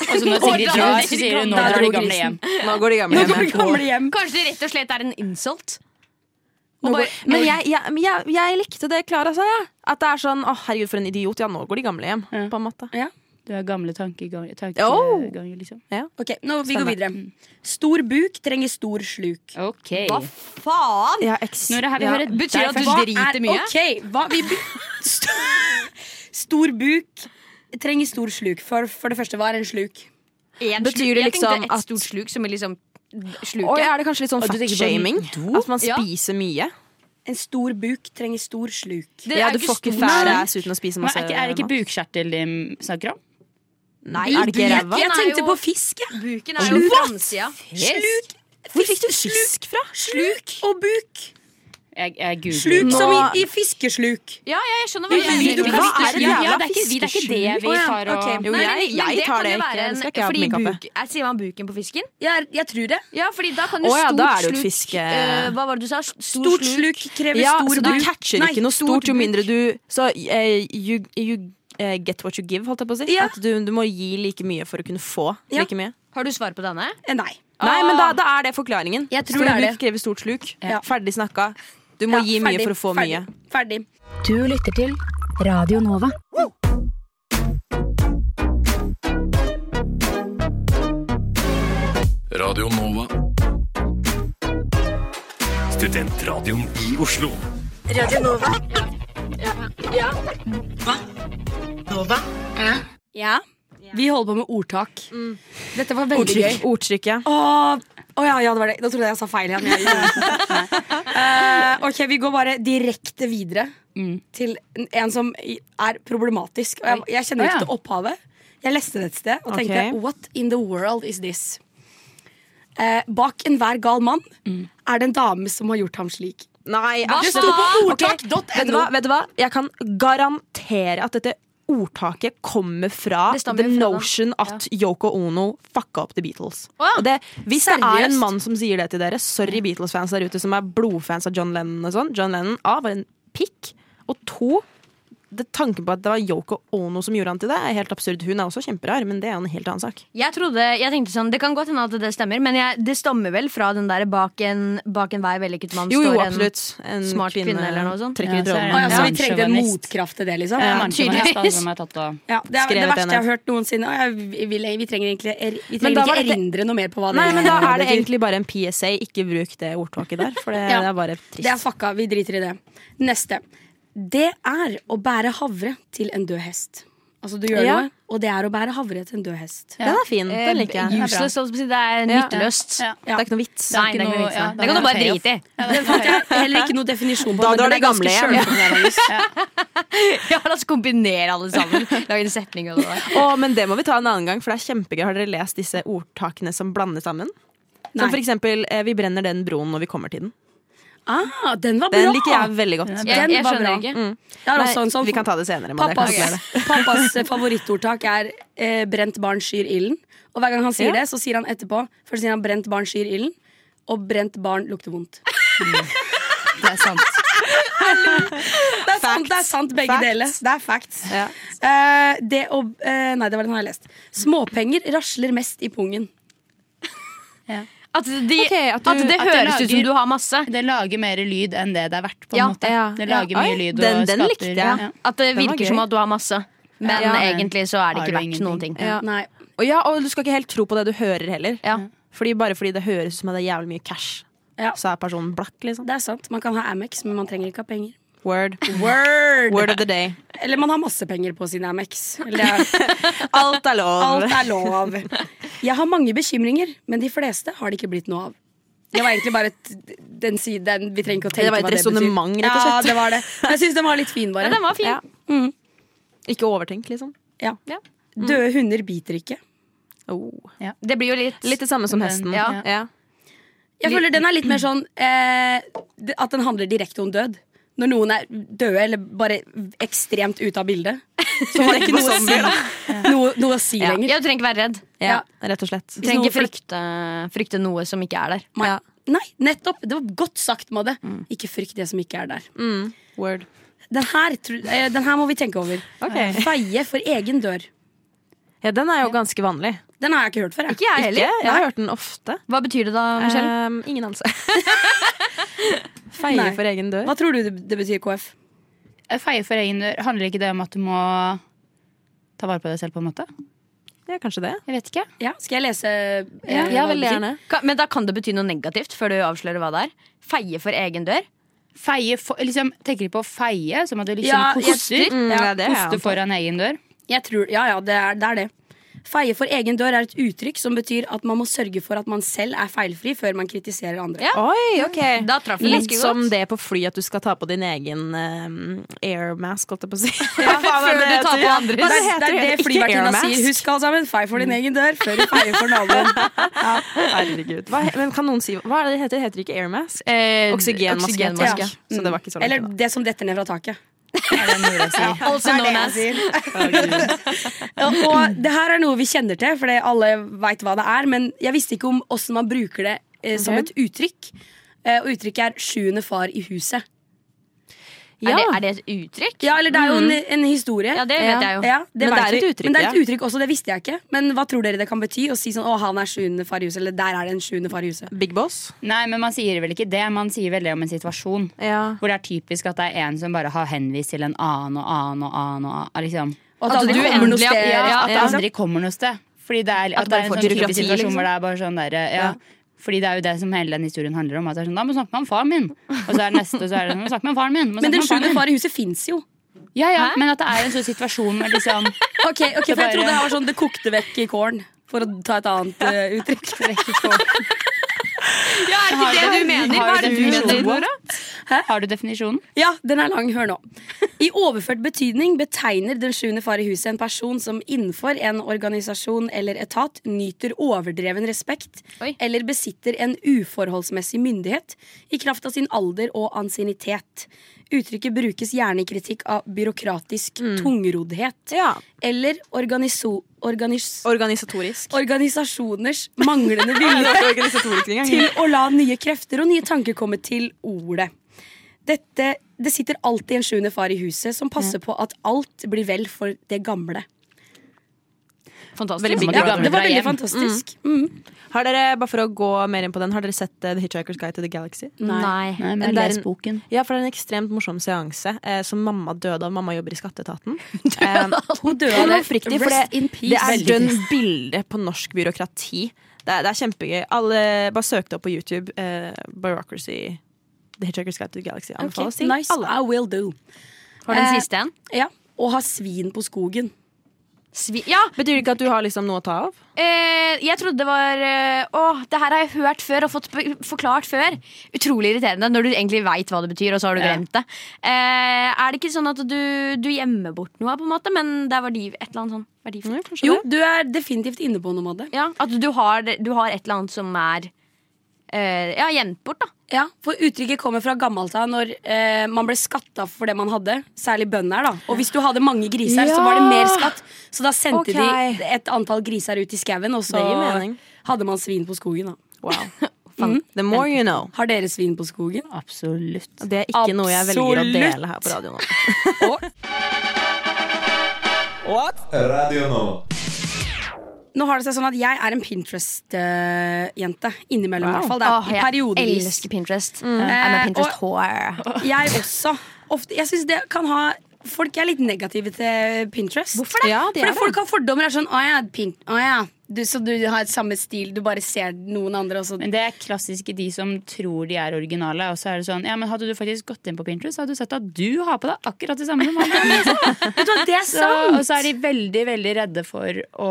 S7: Og så når Sigrid
S8: Da drar
S7: drar,
S8: de
S7: så sier hun
S8: gamle-
S7: nå
S5: Da
S7: drar
S5: dro
S7: de gamle
S5: grisen.
S7: hjem.
S6: Nå går de gamle
S5: Nå går de
S6: hjem.
S5: gamle hjem.
S8: Kanskje det rett og slett er en insult?
S6: Og bare, men jeg, jeg, men jeg, jeg likte det Klara sa, jeg. At det er sånn å herregud, for en idiot. Ja, nå går de gamle hjem,
S7: Ja.
S6: på en måte.
S7: Du har gamle tankeganger,
S6: Oh!
S7: tankeganger liksom.
S5: Ok, nå Vi går videre. Stor buk trenger stor sluk.
S7: Ok.
S8: Faen!
S6: Ja, eks-
S7: Nora, her vil
S6: ja.
S7: høre
S8: Betyr
S7: deg
S8: at du
S7: først.
S8: driter mye?
S5: Ok, hva vi be- St- Stor buk trenger stor sluk. For, for det første, hva er en sluk?
S8: En
S6: Betyr
S8: sluk-
S6: det
S8: Jeg tenkte
S6: liksom
S8: et
S6: at-
S8: stort sluk som er liksom sluket.
S6: Oi, er det kanskje litt sånn
S7: Og du tenker på
S6: fat-shaming?
S7: do?
S6: At man
S8: Ja.
S6: spiser mye?
S5: En stor buk trenger stor sluk.
S8: Det er
S6: Ja, du
S8: jo ikke
S6: får ikke
S8: stor
S6: fæl
S8: sluk.
S6: ass uten å spise
S7: Men
S6: masse
S7: er, ikke, er det ikke bukkjertel de snakker om?
S6: Nei, er det ikke
S5: Buk-
S6: ræva?
S5: Jeg
S8: Den er
S5: tenkte
S8: jo-
S5: på fisk, jeg.
S8: Buken er jo framsida.
S5: Sluk.
S6: Hvor fikk du fisk fra?
S5: Sluk og buk.
S7: Jeg, jeg googler.
S5: Sluk
S6: Nå-
S5: som i, i fiskesluk.
S8: Ja, ja, jeg skjønner hva du
S5: Hva er
S8: mener.
S5: det
S7: Ja,
S6: jævla
S7: ja, det er ikke, vi- det er ikke det vi
S5: Å, ja,
S7: tar og
S5: ok.
S6: Jo,
S8: Nei,
S6: jeg,
S8: men
S6: jeg
S8: det
S6: tar
S8: kan
S6: det
S8: jo være
S6: ikke.
S8: en-
S6: Det skal ikke jeg ha på
S8: fordi
S6: min kappe.
S8: buk- er- Sier man buken på fisken?
S5: Jeg, jeg tror det.
S8: Ja, fordi da kan
S6: Å
S8: jo
S6: ja,
S8: stort
S6: da er det jo et
S8: sluk-
S6: fiske-
S8: Eh, Hva var det du sa? Stor
S5: Stort sluk krever
S6: Ja,
S5: stor
S6: så du
S5: buk.
S6: catcher
S5: Nei,
S6: ikke noe stort jo
S5: buk.
S6: mindre du Så eh, you, you eh, get what you give, holdt jeg på å si.
S5: Ja.
S6: At du, du må gi like mye for å kunne få
S5: Ja.
S6: like mye.
S8: Har du svar på denne?
S5: Eh, Nei.
S6: Nei, men da, da er det forklaringen.
S5: Jeg tror
S6: Stor
S5: det er
S6: buk krever stort sluk.
S5: Ja.
S6: Ferdig snakka. Du må
S5: Ja,
S6: gi mye
S5: ferdig,
S6: for å få
S5: ferdig,
S6: mye.
S5: Ferdig.
S1: Du lytter til Radio Nova.
S2: Radio Nova.
S3: Studentradioen i Oslo.
S5: Ja. Vi holder på med ordtak. Dette var veldig gøy.
S6: Ordtrykk, ordtrykket.
S5: Å å ja, ja, det var det. Da trodde jeg jeg sa feil igjen. Jeg- Eh, ok, Vi går bare direkte videre til en- en som er problematisk. Og jeg, jeg kjenner
S7: Å, ja.
S5: ikke til opphavet. Jeg leste det et sted og tenkte
S6: Ok.
S5: What in the world is this? Eh, bak enhver gal mann er det en dame som har gjort ham slik.
S6: Nei,
S5: Det sto på ordtak.no.
S6: Vet du, hva, vet du hva? Jeg kan garantere at dette ordtaket kommer fra
S8: Det stammer
S6: the
S8: jo fra den.
S6: notion at Yoko Ono fucka opp The Beatles.
S8: Å ja.
S6: Og det, hvis det er en
S5: Seriøst?
S6: mann som sier det til dere, sorry Beatles-fans der ute som er blodfans av John Lennon og sånn. John Lennon A var en pikk, og to det Tanken på at det var Yoko Ono som gjorde han til det, er helt absurd. Hun er også kjemperar, men det er en helt annen sak.
S8: Jeg trodde, jeg tenkte sånn, Det kan godt hende at det stemmer, men jeg, det stammer vel fra den der bak en, bak en vei vellykket mann
S6: Jo, jo,
S8: står en
S6: absolutt. En
S8: smart kvinne eller noe sånt.
S7: Ja,
S6: Trekker i
S7: så er
S6: tråden.
S7: det
S5: Å, ja, så altså, vi
S7: Ja.
S5: trengte en
S7: Sjåvinist.
S5: motkraft til det, liksom.
S7: Ja,
S8: tydeligvis.
S7: mannsjåvinist, da, som er tatt av.
S5: Ja, det, er, det
S6: Skrevet
S5: verste
S6: en
S5: jeg har hørt noensinne. Å, jeg, vi, vil, vi trenger egentlig, er, vi
S6: Men
S5: trenger
S6: da
S5: ikke
S6: var dette-
S5: erindre noe mer på hva det
S6: Nei, men da er det
S5: betyr.
S6: egentlig bare en PSA. Ikke bruk det ordtaket der, for det,
S5: Ja.
S6: det er bare trist.
S5: Det er fucka. Vi driter i det. Neste. Det er å bære havre til en død hest. Altså du gjør
S6: Ja.
S5: noe, og det er å bære havre til en død hest.
S6: Den er fin.
S5: Eh,
S6: Den liker jeg.
S7: bra.
S8: Eh, Useless, som sier, det er
S6: Ja.
S8: nytteløst.
S7: Ja.
S6: Det er ikke noe vits.
S8: Nei, det er
S7: ikke
S8: ikke noe
S7: noe-
S8: vits.
S7: ja, da
S8: i. det kan
S7: er
S8: du bare
S7: det
S8: drite i.
S5: Det fant jeg heller ikke noe definisjon på.
S6: Da
S5: men
S6: drar
S5: den
S6: det
S5: er ganske
S6: gamle hjem.
S5: sjølforklarende.
S8: Ja, La oss kombinere alle sammen. Lage en setning av det der.
S6: Å, men det må vi ta en annen gang, for det er kjempegøy. Har dere lest disse ordtakene som blander sammen? Som
S5: Nei.
S6: for eksempel eh, 'Vi brenner den broen når vi kommer til den'.
S5: Ah, den var bra!
S6: Den Mm. liker jeg veldig godt.
S8: Jeg,
S5: Den
S8: jeg
S5: var
S8: skjønner
S5: bra.
S8: ikke.
S5: Jeg har også
S6: Nei,
S5: en sånn
S6: vi kan ta det senere. men jeg kan
S5: Pappas,
S6: ikke gjøre det.
S5: pappas favorittordtak er eh, 'brent barn skyr ilden'. Og hver gang han sier det, så sier han etterpå Først sier han 'brent barn skyr ilden', og 'brent barn lukter vondt'.
S7: Det er sant.
S5: Det er sant, det er sant begge
S6: Facts.
S5: deler. Det er facts.
S6: Ja.
S5: Eh, det å eh, Nei, det var den har jeg lest. Småpenger rasler mest i pungen.
S8: At, de,
S6: Ok, at
S8: at,
S6: du-
S8: det
S7: at det
S8: høres ut som
S7: lager-
S8: du har masse.
S7: Det lager mer lyd enn det det er verdt, på en
S8: Ja,
S7: måte.
S6: ja,
S7: Det
S6: ja.
S7: lager
S6: Oi,
S7: mye lyd og
S6: den- den
S7: skaper
S6: likte jeg.
S7: ja.
S8: At det
S6: Den var
S8: virker
S6: gøy.
S8: som at du har masse. Men
S7: Ja.
S8: egentlig så er det ikke
S7: Har du
S8: verdt noen ting.
S7: ingenting.
S6: Ja.
S5: Nei.
S6: Og, ja, og du skal ikke helt tro på det du hører heller.
S8: Ja.
S6: Fordi Bare fordi det høres ut som at det er jævlig mye cash,
S5: Ja.
S6: så er personen blakk. liksom
S5: Det er sant. Man kan ha Amex, men man trenger ikke ha penger.
S6: Word.
S5: Word!
S6: Word of the day.
S5: Eller man har masse penger på sin Amex. Eller,
S6: Alt er lov.
S5: alt er lov. Jeg har mange bekymringer, men de fleste har det ikke blitt noe av. Det var egentlig bare et, den siden Vi trenger ikke å tenke
S6: Det var et
S5: hva det
S6: resonemang,
S5: betyr.
S6: rett og slett.
S5: Ja, det var det. Men Jeg syns den var litt fin, bare.
S8: Ja, den var fin.
S6: Ja. Ikke overtenk, liksom.
S5: Ja.
S8: Ja.
S5: Døde hunder biter ikke.
S6: Oh.
S8: Det blir jo litt,
S6: Litt det samme som
S7: Den-
S6: hesten.
S7: ja.
S6: Ja.
S5: Jeg føler den er litt mer sånn eh, d- At den handler direkte om død. Når noen er døde eller bare ekstremt ute av bildet. Så har det ikke noe å si, noe, noe å si
S8: ja.
S5: lenger.
S8: Ja, Du trenger ikke være redd.
S6: Ja, rett og slett.
S8: Du trenger
S5: noe
S8: ikke frykte, frykte noe som ikke er der.
S5: Nei, Nei, nettopp! Det var godt sagt, Madde. Ikke frykt det som ikke er der.
S6: Word.
S5: Den her, tru- eh, den her må vi tenke over. Feie for egen dør.
S6: Ja, den Eh, er jo ganske vanlig.
S5: Den har jeg ikke hørt før. Jeg.
S8: Ikke jeg
S6: Ikke?
S8: heller.
S6: Jeg har hørt den ofte.
S8: Hva betyr det da, Michelle?
S6: Ehm, ingen anelse. Feie
S5: Nei.
S6: for egen dør.
S5: Hva tror du det, det betyr, KF?
S7: Feie for egen dør, handler ikke det om at du må ta vare på deg selv, på en måte?
S6: Ja, kanskje det.
S7: Jeg vet ikke.
S5: Ja, skal jeg lese eh,
S6: Ja,
S5: hva
S6: veldig
S5: det betyr?
S6: gjerne.
S8: Ka- Men da kan det bety noe negativt før du avslører hva det er. Feie for egen dør.
S7: Feie for, liksom, tenker de på feie, som at du liksom
S5: Ja,
S7: koster?
S5: jeg- Mm,
S6: ja, det er jeg
S7: koster foran egen dør?
S5: Jeg tror, ja, ja, det er, det er det. Feie for egen dør er et uttrykk som betyr at man må sørge for at man selv er feilfri før man kritiserer andre.
S8: Ja.
S6: Oi, ok
S8: Da traff det
S6: Litt
S8: ganske
S6: som
S8: godt.
S6: det på fly at du skal ta på din egen ehm, air mask, holdt jeg på å si.
S8: før du tar på andres.
S5: Det
S6: Hva
S5: er
S6: heter
S5: det, er det
S6: Ikke air
S5: flyvertinna
S6: mask.
S5: sier. Husk alle sammen, fei for din egen dør før du feier for naboen.
S6: Herregud. Hva, he- men kan noen si hva er det det heter? Heter det ikke air mask?
S8: Eh,
S6: Oksygenmaske.
S8: oksygenmaske.
S5: Ja. Mm.
S6: Så det var ikke så
S5: Eller
S6: langt.
S5: det som detter ned fra taket.
S8: Also known as.
S5: Ja, og det her er noe vi kjenner til, for alle veit hva det er. Men jeg visste ikke om åssen man bruker det eh, som
S6: Ok.
S5: et uttrykk. Eh, og uttrykket er 'sjuende far i huset'.
S6: Ja.
S8: Er, det, er det et uttrykk?
S5: Ja, eller det er jo en, en historie.
S8: Ja, det vet jeg jo.
S5: Ja, det
S6: Men
S5: vet
S6: det er et
S5: vi.
S6: uttrykk,
S5: Men det er et
S6: ja.
S5: uttrykk også, det visste jeg ikke. Men hva tror dere det kan bety å si sånn 'Å, han er sjuende far i huset', eller 'Der er det en sjuende far i huset'?
S6: Big Boss?
S7: Nei, men man sier vel ikke det. Man sier vel det om en situasjon.
S6: Ja.
S7: Hvor det er typisk at det er en som bare har henvist til en annen og annen og annen. Og annen liksom.
S5: Og
S8: At
S5: aldri
S8: du
S5: kommer noe
S8: endelig-
S5: sted.
S8: ja,
S7: Ja, Eh, at det
S8: ja.
S7: aldri kommer noe sted. Fordi det er, at
S6: det
S7: det
S6: bare
S7: er en
S6: får
S7: sånn typisk
S6: byråkrati,
S7: situasjon
S6: liksom.
S7: hvor det er bare sånn der, ja. Fordi det er jo det som hele den historien handler om. At det er sånn, da må du snakke med han faren min. Og så er det neste, og så er det sånn, må du snakke med han faren min. må du
S5: Men den sjuende
S7: snakke med han faren min.
S5: far i huset fins jo.
S7: Ja, ja, men at det er en sånn situasjon hvor liksom
S5: Ok, ok, for
S7: bare-
S5: jeg trodde det var sånn 'det kokte vekk i kålen', for å ta et annet eh, uttrykk.
S8: Ja, er ikke det du mener? Hva
S7: Har
S8: er
S7: du
S8: det du mener,
S7: definisjonen?
S8: Nora?
S7: Har du definisjonen?
S5: Ja, den er lang. Hør nå. I overført betydning betegner den sjuende far i huset en person som innenfor en organisasjon eller etat nyter overdreven respekt
S8: Oi.
S5: eller besitter en uforholdsmessig myndighet i kraft av sin alder og ansiennitet. Uttrykket brukes gjerne i kritikk av byråkratisk tungroddhet
S6: ja.
S5: eller organiso... Organis
S6: Organisatorisk.
S5: organisasjoners manglende vilje
S6: Ikke organisatorisk engang.
S5: til å la nye krefter og nye tanker komme til ordet. Dette, det sitter alltid en sjuende far i huset som passer på at alt blir vel for det gamle.
S8: Fantastisk.
S7: big
S5: Ja,
S7: gamle
S5: det
S7: drar
S5: var veldig
S7: hjem.
S5: fantastisk. Mm.
S6: Har dere, bare for å gå mer inn på den, har dere sett eh, The Hitchhiker's Guide to the Galaxy?
S5: Mm.
S8: Nei.
S7: Nei, men
S6: jeg
S7: les
S6: leser
S7: boken.
S6: Ja, for det er en ekstremt morsom seanse eh, som mamma døde av. Mamma jobber i skatteetaten. Eh,
S5: Hun døde
S6: det er
S5: av det.
S6: oppriktig, for
S5: Rest
S6: det,
S5: in
S6: det
S5: peace.
S6: er dønn bilde på norsk byråkrati. Det er, det er kjempegøy. Alle bare søkte opp på YouTube. Eh, bureaucracy. The Hitchhiker's Guide to the Galaxy anbefales til
S5: Mm, Nice,
S6: alle.
S5: I will do.
S8: Har du en
S5: Eh,
S8: siste en?
S5: Ja. Å ha svin på skogen.
S8: Svi ja,
S6: Betyr det ikke at du har liksom noe å ta av?
S8: eh, jeg trodde det var eh, Å, det her har jeg hørt før og fått be- forklart før. Utrolig irriterende når du egentlig veit hva det betyr, og så har du
S7: Ja.
S8: glemt det. Eh, er det ikke sånn at du, du gjemmer bort noe, på en måte, men det er verdi, et eller annet sånn verdifullt?
S6: Ja, kanskje
S5: Jo,
S6: det.
S5: du er definitivt inne på noe med det.
S8: Ja, at du har, du har et eller annet som er eh, Ja, gjemt bort, da.
S5: Ja, for Uttrykket kommer fra gammelt av når eh, man ble skatta for det man hadde. Særlig bønder. da Og hvis du hadde mange griser, så var det mer skatt. Så da sendte
S6: Ok.
S5: de et antall griser ut i skauen, og så
S6: Det gir mening.
S5: hadde man svin på skogen. da
S6: Wow. Fan. The more you know.
S5: Har dere svin på skogen?
S7: Absolutt.
S6: Det er ikke noe jeg velger å
S5: Absolutt.
S6: dele her på radio nå.
S3: Radio Nova.
S5: Nå har det seg sånn at Jeg er en Pinterest-jente. Innimellom, i hvert fall. Det
S8: Åh,
S5: er periodevis.
S8: elsker Pinterest. I'm a
S5: Eh,
S8: Pinterest whore.
S5: Jeg også. Ofte, jeg synes det kan ha Folk er litt negative til Pinterest. Hvorfor
S6: det? Ja, de er
S5: Fordi
S6: det.
S5: folk har fordommer. Er sånn, å, ja, pin å, ja. du, så du har et samme stil, du bare ser noen andre. Og så.
S7: Men det er klassisk i de som tror de er originale. Og så er det sånn, ja, men Hadde du faktisk gått inn på Pinterest, så hadde du sett at du har på deg akkurat det samme som han.
S5: Vet du hva, det er
S7: Så,
S5: sant!
S7: og så er de veldig veldig redde for å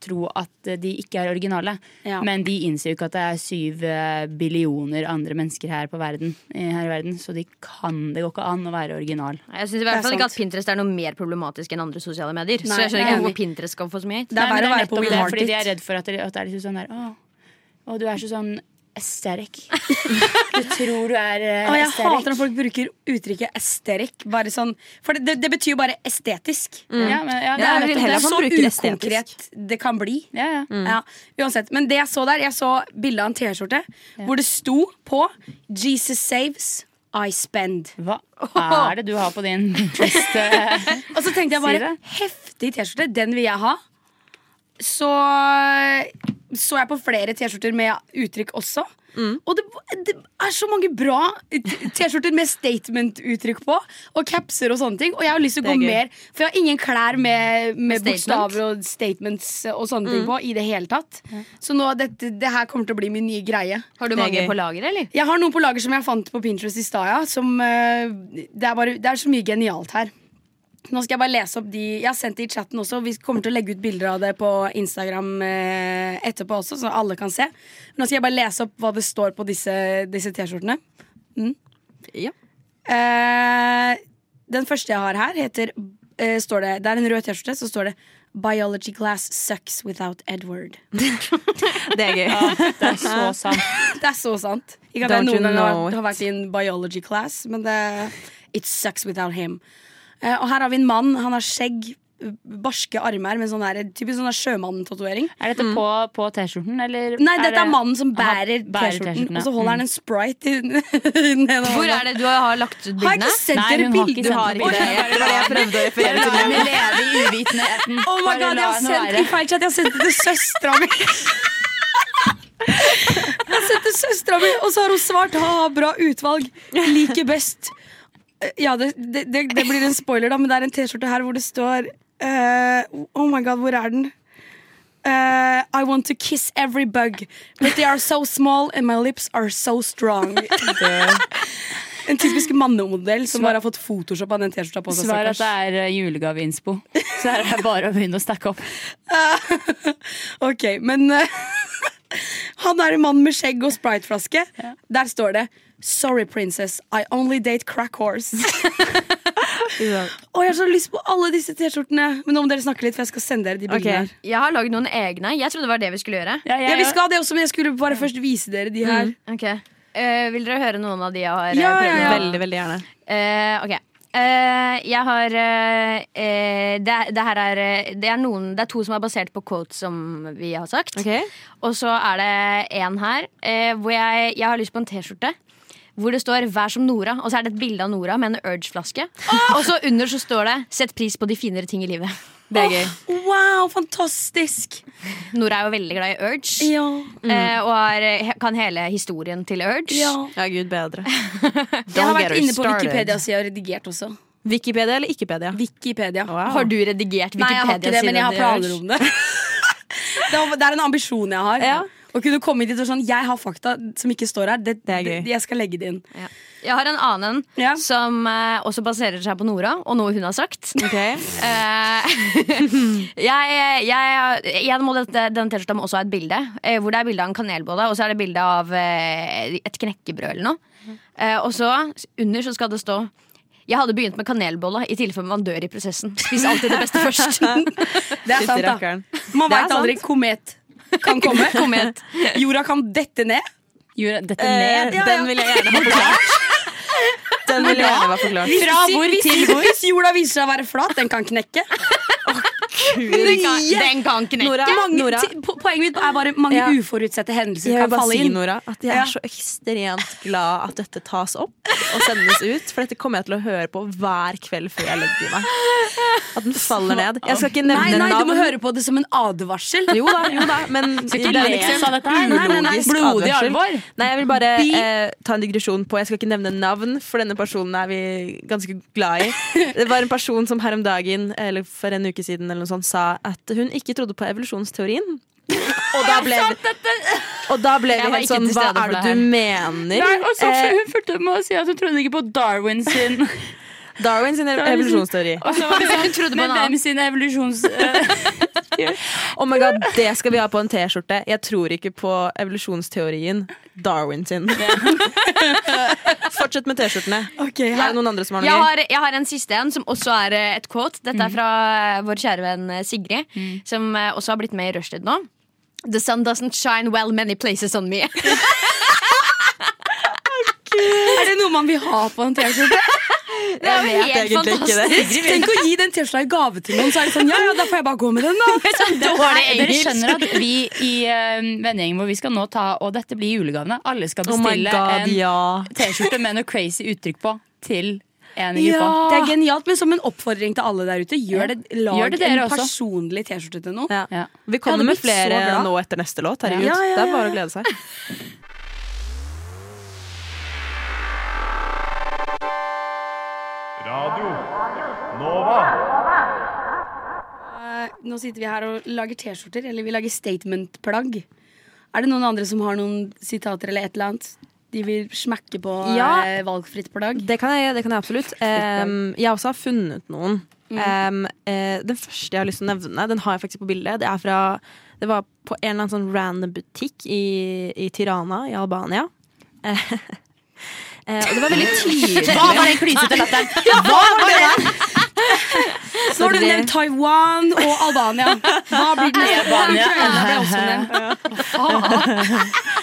S7: tro at de ikke er originale.
S5: Ja.
S7: Men de innser jo ikke at det er syv eh, billioner andre mennesker her, på verden, eh, her i verden, så de kan det går ikke an å være original.
S8: Jeg synes i hvert
S5: Det er
S8: fall ikke at
S5: sant.
S8: Pinterest er noe mer problematisk enn andre sosiale medier.
S5: Nei,
S8: så jeg skjønner
S5: jeg er
S8: ikke
S5: enig.
S8: hvorfor Pinterest skal få så mye hate.
S5: Det er
S7: Nei,
S5: bare å
S7: men
S5: være på
S7: nettopp
S5: We
S7: det,
S5: Heart
S7: Fordi de er
S5: It.
S7: redd for at det, at det er liksom sånn der Å, å, du er så sånn aesthetic. Du tror du er eh,
S5: Og jeg
S7: aesthetic.
S5: hater når folk bruker uttrykket aesthetic. Bare sånn, for det, det, det betyr jo bare estetisk.
S7: Ja, men, ja, det
S6: Mm. Ja,
S7: er
S6: jeg vil
S7: nettopp
S6: heller
S7: det.
S6: at man
S5: Så
S6: bruker estetisk.
S5: ukonkret det kan bli.
S7: Ja, ja.
S5: Ja, uansett. Men det jeg så der, jeg så bilde av en T-skjorte hvor det sto på 'Jesus saves, I spend'.
S7: Hva er det du har på din beste
S5: Og så tenkte jeg
S7: Si
S5: bare
S7: det.
S5: heftig T-skjorte, den vil jeg ha. så så jeg på flere T-skjorter med uttrykk også. Og det, det er så mange bra T-skjorter med statement-uttrykk på, og capser og sånne ting. Og jeg har lyst til å
S6: Det er
S5: gå
S6: gøy.
S5: mer, for jeg har ingen klær med, med
S8: Statement.
S5: bokstaver og statements og sånne ting på i det hele tatt. Så nå, dette, det her kommer til å bli min nye greie.
S8: Har du
S6: Det er
S8: mange
S6: gøy.
S8: på lager, eller?
S5: Jeg har noen på lager som jeg fant på Pinterest i stad. Ja, som, eh, det, er bare- det er så mye genialt her. Nå skal jeg bare lese opp de Jeg har sendt det i chatten også. Vi kommer til å legge ut bilder av det på Instagram eh, etterpå også, så alle kan se. Nå skal jeg bare lese opp hva det står på disse disse T-skjortene.
S6: Ja.
S5: Eh, den første jeg har her, heter eh, står det, Det er en rød T-skjorte, så står det 'Biology class sucks without Edward'.
S6: Det er gøy.
S7: Det er så sant.
S5: Det er så sant. Ikke at jeg
S6: Don't you
S5: noen gang har,
S6: know it?
S5: har vært i en biology class, men det It sucks without him. Eh, og her har vi en mann. Han har skjegg, barske armer med sånn der- typisk sånn der sjømannen-tatovering.
S7: Er dette på, på T-skjorten, eller?
S5: Mm. Nei, dette er
S7: det-
S5: mannen som
S7: Han
S5: bærer
S7: bærer
S5: T-skjorten,
S7: T-skjorten,
S5: og så
S7: ja.
S5: holder han en sprite i den ene
S8: Hvor
S5: hånda.
S8: er det du har lagt ut
S5: Har jeg
S8: bildene?
S5: ikke sendt
S7: Nei,
S5: dere
S7: hun har ikke
S5: bilder?
S7: sendt
S6: Har ikke det. Det var det jeg prøvde å referere til.
S7: La henne leve Mm. i uvitenheten.
S5: Oh my
S7: Bare
S5: god, jeg
S7: la
S5: har
S7: henne
S5: sendt
S7: være.
S5: i feil chat. Jeg har sendt det til søstera mi. Jeg har sendt det til søstera mi, og så har hun svart ha bra utvalg. Liker best. Eh, Ja, det, det, det, det blir en spoiler, da, men det er en T-skjorte her hvor det står eh, Oh my god, hvor er den? Eh, I want to kiss every bug, but they are so small and my lips are so strong. En typisk mannemodell som bare har fått Photoshop av den T-skjorta på seg.
S7: Svar at
S5: stakkars.
S7: det er eh, julegaveinspo. Så er det bare å begynne å stakke opp.
S5: Ok, men eh, Han er en mann med skjegg og spriteflaske. Der står det 'Sorry, princess, I only date crack horse'. Å, jeg har så lyst på alle disse T-skjortene! Men nå må dere snakke litt, for jeg skal sende dere de bildene. her
S8: Jeg har lagd noen egne. Jeg trodde det var det vi skulle gjøre. Mm.
S7: Ja, jeg,
S5: Ja, Vi skal ha det også, men jeg skulle bare først vise dere de her.
S8: Ok. Eh, vil dere høre noen av de jeg har eh,
S5: Ja, ja,
S8: prøvd?
S5: ja.
S6: Veldig, veldig gjerne.
S8: Eh, ok. Eh, jeg har eh, eh, det, det her er eh, det er, noen, det er to som er basert på quotes som vi har sagt. Og så er det en her eh, hvor jeg, jeg har lyst på en T-skjorte. Hvor det står 'Vær som Nora', og så er det et bilde av Nora med en Urge-flaske. Og så under så står det 'Sett pris på de finere ting i livet'.
S6: Det er gøy.
S5: Wow, fantastisk!
S8: Nora er jo veldig glad i Urge.
S5: Ja.
S8: eh, og har, he- kan hele historien til Urge.
S5: Mm. ja.
S6: Ja, gud bedre.
S5: Jeg har
S6: Don't get
S5: vært
S6: her
S5: inne på
S6: started.
S5: Wikipedia, så jeg har redigert også.
S6: Wikipedia eller Ikkepedia?
S5: Wikipedia.
S8: Har du redigert
S5: Nei, jeg har ikke det,
S8: Wikipedia-siden
S5: men jeg har
S8: til Urge?
S5: planer om det. det er- det er en ambisjon jeg har.
S6: Ja.
S5: Å kunne komme dit og sånn Jeg har fakta som ikke står her. Det,
S6: Det er gøy.
S5: det- jeg skal legge det inn.
S8: Jeg har en annen
S5: Ja.
S8: som eh, også baserer seg på Nora og noe hun har sagt.
S6: Ok.
S8: Eh, jeg, jeg, igjen må dette, denne T-skjorta må også ha et bilde, eh, hvor det er bilde av en kanelbolle og så er det bilde av eh, et knekkebrød eller noe. Eh, og så under så skal det stå jeg hadde begynt med kanelbolle i tilfelle man dør i prosessen. Spis alltid det beste først.
S5: Det er sant, da.
S6: rakkeren.
S5: Man
S6: Det er
S5: veit aldri. Komet kan komme.
S8: Komet.
S5: Jorda kan dette ned.
S7: Gjør dette
S6: Eh,
S7: ned.
S6: Den vil jeg gjerne ha forklart. Den vil jeg gjerne ha forklart.
S5: Fra hvor til hvor? Hvis jorda viser seg å være flat, den kan knekke.
S8: Den kan, den kan
S6: Nora,
S8: knekke.
S5: Mange,
S6: Nora,
S5: ti- po- poenget mitt er bare mange
S6: Ja.
S5: uforutsette hendelser
S6: jeg
S5: kan
S6: vil bare
S5: falle
S6: si
S5: inn.
S6: Nora, at jeg
S5: Ja.
S6: er så ekstremt glad at dette tas opp og sendes ut. For dette kommer jeg til å høre på hver kveld før jeg legger meg. At den faller ned. Jeg skal ikke
S5: Nei,
S6: nevne
S5: nei, du må
S6: navn.
S5: høre på det som en advarsel.
S6: Jo da, jo da, men
S7: Skal ikke
S6: det er
S7: le
S6: liksom-
S7: av dette her. Nei, nei, nei.
S6: ulogisk
S7: Blodig
S6: advarsel.
S7: alvor.
S6: Nei, jeg vil bare
S5: Bi-
S6: eh, ta en digresjon på Jeg skal ikke nevne navn, for denne personen er vi ganske glad i. Det var en person som her om dagen, eller for en uke siden, eller noe sånt, sa at hun ikke trodde på evolusjonsteorien. Og da ble vi, og da ble
S8: Jeg
S6: vi
S8: var
S6: helt
S8: ikke
S6: sånn
S8: til
S6: Hva
S8: stede
S6: er
S8: for
S6: det
S8: det
S6: du mener?
S7: Nei, og så
S6: Eh,
S7: hun fulgte med å si at hun trodde ikke på Darwin sin Og
S6: Darwin sin
S7: Darwin sin-
S6: evolusjonsteori.
S7: så var det
S8: Hun
S7: sånn,
S8: trodde på
S7: Men
S8: en annen.
S7: hvem sin evolusjons... eh,
S6: Oh my god, Det skal vi ha på en T-skjorte. Jeg tror ikke på evolusjonsteorien. Darwin sin. Fortsett med T-skjortene.
S5: Ok,
S6: Er det noen andre som har noe
S8: Jeg
S6: gøy?
S8: har, jeg har en siste en som også er eh, et quote. Dette er fra eh, vår kjære venn eh, Sigrid, som eh, også har blitt med i Rushtid nå. The sun doesn't shine well many places on me.
S5: Er det noe man vil ha på en T-skjorte?
S8: Det er jo
S6: vet
S8: helt
S6: egentlig ikke det.
S8: fantastisk.
S5: Tenk å gi den T-skjorta i gave til noen, så er det sånn ja ja, da får jeg bare gå med den, da.
S8: Dårlig
S7: Dere
S8: engelsk.
S7: skjønner at vi i eh, vennegjengen vår Vi skal nå ta Og dette blir julegavene. Alle skal
S6: Oh my
S7: bestille
S6: god,
S7: en
S6: ja.
S7: T-skjorte med noe crazy uttrykk på til En i gruppa.
S5: Det er genialt, men som en oppfordring til alle der ute, gjør det, lag
S7: Gjør det dere
S5: en
S7: også.
S5: personlig T-skjorte til noen.
S6: Ja.
S7: Ja.
S6: Vi
S5: Jeg hadde
S6: kommer med
S5: blitt så glad.
S6: flere nå etter neste låt. Herregud.
S5: Ja, ja,
S6: Det er
S5: ja,
S6: bare å
S5: ja.
S6: glede seg.
S3: Radio Nova.
S5: Eh, Nå sitter vi her og lager T-skjorter, eller vi lager statement-plagg. Er det noen andre som har noen sitater eller et eller annet de vil smekke på
S6: Ja.
S5: eh, valgfritt plagg?
S6: Det kan jeg, det kan jeg absolutt. Em, jeg også har funnet noen. Em, eh, den første jeg har lyst til å nevne, den har jeg faktisk på bildet. Det, er fra, det var på en eller annen sånn random butikk i, i Tirana i Albania. Eh, eh, og det var veldig tydelig.
S7: Hva var den klysete latteren?
S5: Så har du
S6: det-
S5: nevnt Taiwan og Albania. Hva blir den neste? Ukraina ble også nevnt.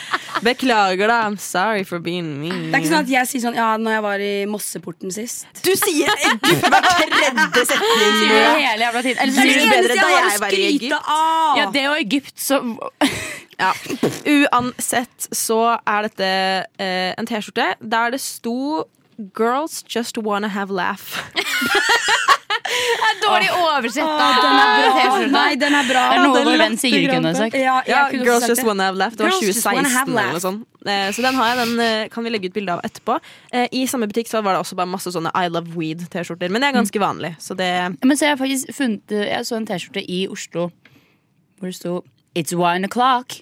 S6: Beklager, da. I'm sorry for being mean.
S5: Det er ikke sånn at jeg sier sånn Ja, når jeg var i Mosseporten sist.
S6: Du sier Egypt hver tredje setning!
S7: Hele jævla tiden. Eller,
S6: Det er
S7: sier
S6: det
S7: du
S6: bedre
S5: eneste
S6: da
S5: jeg har
S6: jeg
S5: å
S6: var i
S5: skryte av!
S7: ja, det og Egypt, så
S6: Ja. Uansett så er dette eh, en T-skjorte der det sto 'Girls just wanna have laugh'.
S8: Dårlig oversett.
S5: Å, den er bra. Nei, den er bra.
S7: Det er noe
S5: Den
S7: vår venn
S5: latter
S7: Sigrid kunne
S5: grann.
S7: sagt.
S5: Ja, jeg
S6: Ja,
S5: kunne også
S6: Girls
S5: sagt
S6: Just
S5: det.
S6: Wanna Have Laugh. Det var
S5: Girls Just
S6: 2016
S5: Wanna Have
S6: eller noe
S5: Laugh.
S6: sånt. Eh, Så den har jeg, den eh, kan vi legge ut bilde av etterpå. Eh, I samme butikk så var det også bare masse sånne I Love Weed-T-skjorter. Men det er ganske vanlig. Så det
S7: Men så har jeg faktisk funnet Jeg så en T-skjorte i Oslo hvor det sto It's wine o'clock.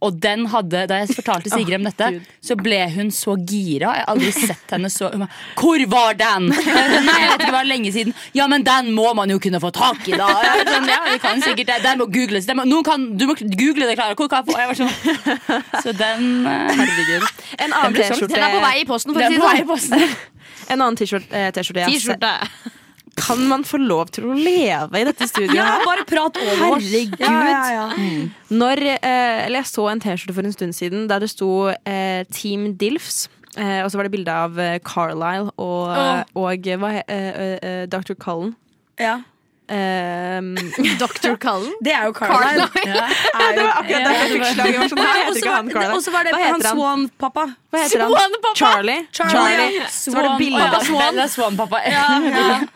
S7: Og den hadde, Da jeg fortalte Sigrid om dette, så ble hun så gira. Jeg har aldri sett henne så hun bare, Hvor var den?! Jeg sa, Nei, jeg vet ikke, det var lenge siden. Ja, men den må man jo kunne få tak i, da! Jeg var sånn, ja, vi kan sikkert det. Den må googles. Den må, noen kan, du må google det, Klara. Hvor kan jeg få Jeg var sånn. Så den eh,
S6: Herregud. En annen
S7: ble solgt.
S6: T-skjorte
S8: Den er på vei i posten, for å
S7: Den
S8: si
S7: må
S8: det
S7: jeg
S8: sånn.
S7: poste.
S6: En annen T-skjorte eh, T-skjorte jeg har sett.
S8: T-skjorte.
S6: Kan man få lov til å leve i dette studioet? her?
S5: bare prat over oss.
S6: Herregud.
S5: Ja, ja, ja.
S6: Når, eh, eller jeg så en T-skjorte for en stund siden der det sto eh, Team Dilfs. Eh, og så var det bilde av eh, Carlisle og, og eh, hva, he- eh, eh, eh, Dr. Cullen.
S5: Ja.
S6: Eh,
S8: Dr. Cullen.
S5: Det er jo Carlisle. Er jo-
S6: akkurat derfor jeg fikk slag. Jeg var sånn, Nei, jeg heter ikke han Carl.
S5: Og så var det
S6: Hva
S5: han
S6: heter han?
S5: Swan-pappa.
S6: Hva heter han?
S8: Swan, pappa!
S6: Charlie.
S5: Charlie, ja.
S6: Så var det bilde av
S7: Swan. Det er Swan, pappa.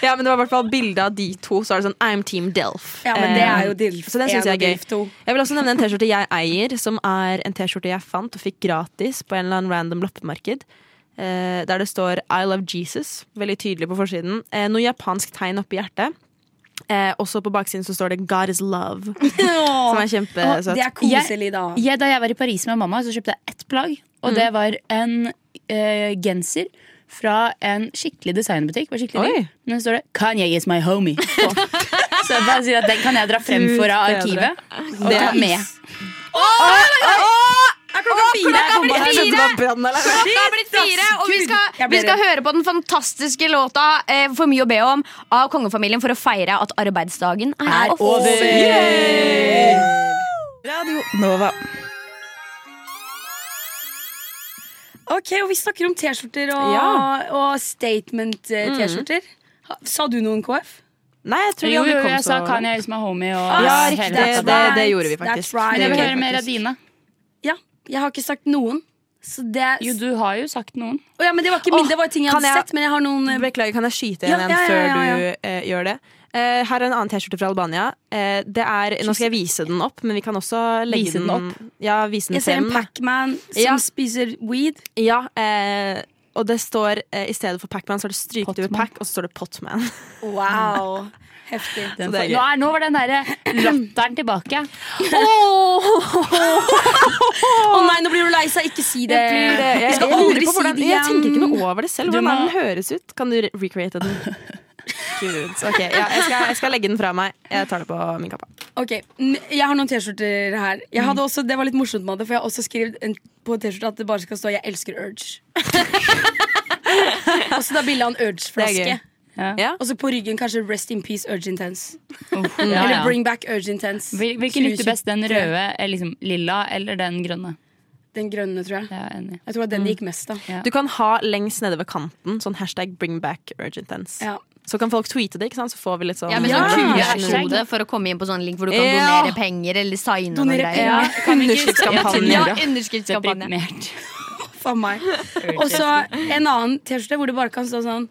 S6: Ja, men det var i hvert fall bilde av de to. Så er det sånn I'm Team Delf.
S5: Ja, men det er jo
S6: Eh,
S5: Dilf.
S6: Så den synes jeg er gøy.
S5: to.
S6: Jeg vil også nevne en T-skjorte jeg eier, som er en T-skjorte jeg fant og fikk gratis på en eller annen random loppemarked. eh, Der det står I love Jesus, veldig tydelig på forsiden. Eh, Noe japansk tegn oppi hjertet. Eh, også på baksiden så står det God is love, som er kjempesøtt.
S5: Det er koselig, da.
S7: Jeg, da jeg var i Paris med mamma, så kjøpte jeg ett plagg. Og
S6: Mm.
S7: det var en eh, genser fra en skikkelig designbutikk. Det var skikkelig
S6: Oi.
S7: digg. Men så står det 'Kanye is my homie'. på. så jeg bare sier at den kan jeg dra frem for av
S6: Ut bedre.
S7: arkivet. Og ta med.
S8: Klokka blir
S6: Jeg skjønte det
S8: fire!
S6: var brann, eller?
S8: Klokka er blitt fire, og vi skal, vi skal høre på den fantastiske låta eh, For mye å be om av kongefamilien for å feire at arbeidsdagen er, over.
S5: Ok, og Vi snakker om T-skjorter og,
S6: Ja.
S5: og Mm. statement-T-skjorter. Sa du noen, KF?
S6: Nei, jeg tror vi
S7: Jo,
S6: aldri
S7: jo,
S6: kom
S7: jeg
S6: så
S7: sa
S6: langt.
S7: 'Kanye is my homie' og
S6: Ja,
S7: hele
S6: riktig.
S7: pakka
S6: Det,
S7: der.
S6: det, det gjorde vi
S5: That's
S6: faktisk.
S5: right.
S7: Men jeg vil
S5: Ok,
S7: høre mer av dine.
S5: Ja, Jeg har ikke sagt noen. Så det,
S7: Jo, du har jo sagt noen.
S5: Å ja, men det var ikke min,
S6: Åh,
S5: det var ting jeg
S6: kan
S5: hadde
S6: jeg-
S5: sett. Men jeg har noen eh,
S6: Beklager, kan jeg skyte
S5: Ja,
S6: igjen en
S5: ja, ja,
S6: før
S5: ja,
S6: du eh, gjør det? Eh, her er en annen T-skjorte fra Albania. Eh, det er, nå skal jeg vise den opp, men vi kan også legge
S7: Vise den opp?
S6: Ja, vise den
S5: Jeg ser en
S6: frem.
S5: Pacman som
S6: Ja.
S5: spiser weed.
S6: Ja, eh, og det står eh, i stedet for Pacman, så er det stryket over
S7: Potman.
S6: Pac, og så står det Potman.
S5: Wow, heftig.
S7: Nå,
S6: Så det er gøy.
S7: er, nå var den derre latteren tilbake.
S5: Å nei, nå blir du lei seg. Ikke si det.
S6: Jeg, jeg,
S5: skal
S6: lurer
S5: aldri
S6: på
S5: si det
S6: hvordan, jeg
S5: igjen.
S6: tenker ikke noe over det selv.
S7: Du
S6: Hvordan er
S7: må-
S6: den høres ut? Kan du re- recreate den? Gud, ok, ja, jeg, skal, jeg skal legge den fra meg. Jeg tar det på min kappa.
S5: Ok, n- Jeg har noen T-skjorter her. Jeg
S6: Mm.
S5: hadde også, det var litt morsomt med det, for jeg har også skrevet en, på en T-skjorte at det bare skal stå 'Jeg elsker Urge'. og så da bilde av en
S6: Det er
S5: Urge-flaske.
S6: gøy. Ja.
S5: Og så på ryggen kanskje 'Rest in peace Urge Intense'.
S7: Uff, ja,
S5: Eller
S7: ja.
S5: 'Bring back Urge Intense'.
S7: Hvil- Hvilken
S5: 2020.
S7: likte du best? Den røde, eller liksom lilla eller den grønne?
S5: Den grønne, tror jeg.
S7: Jeg er enig.
S5: Jeg tror
S6: Mm.
S5: at den gikk mest, da.
S7: Ja.
S6: Du kan ha lengst nede ved kanten sånn hashtag bring back urgent dance.
S5: Ja.
S6: Så kan folk tweete det, ikke sant? så får vi litt sånn
S8: Ja, med
S5: Ja.
S8: sånn
S7: Hashtag.
S8: QR-kode for å komme inn på sånn link hvor du kan
S6: Ja.
S8: donere penger eller signe noen
S5: Donere
S8: greier. Sånn,
S5: penger.
S7: Kan vi ikke-
S6: Underskriftskampanje.
S8: Ja,
S7: Ja,
S8: underskriftskampanje.
S7: deprimert.
S5: Huff a meg. Og så en annen T-skjorte hvor det bare kan stå sånn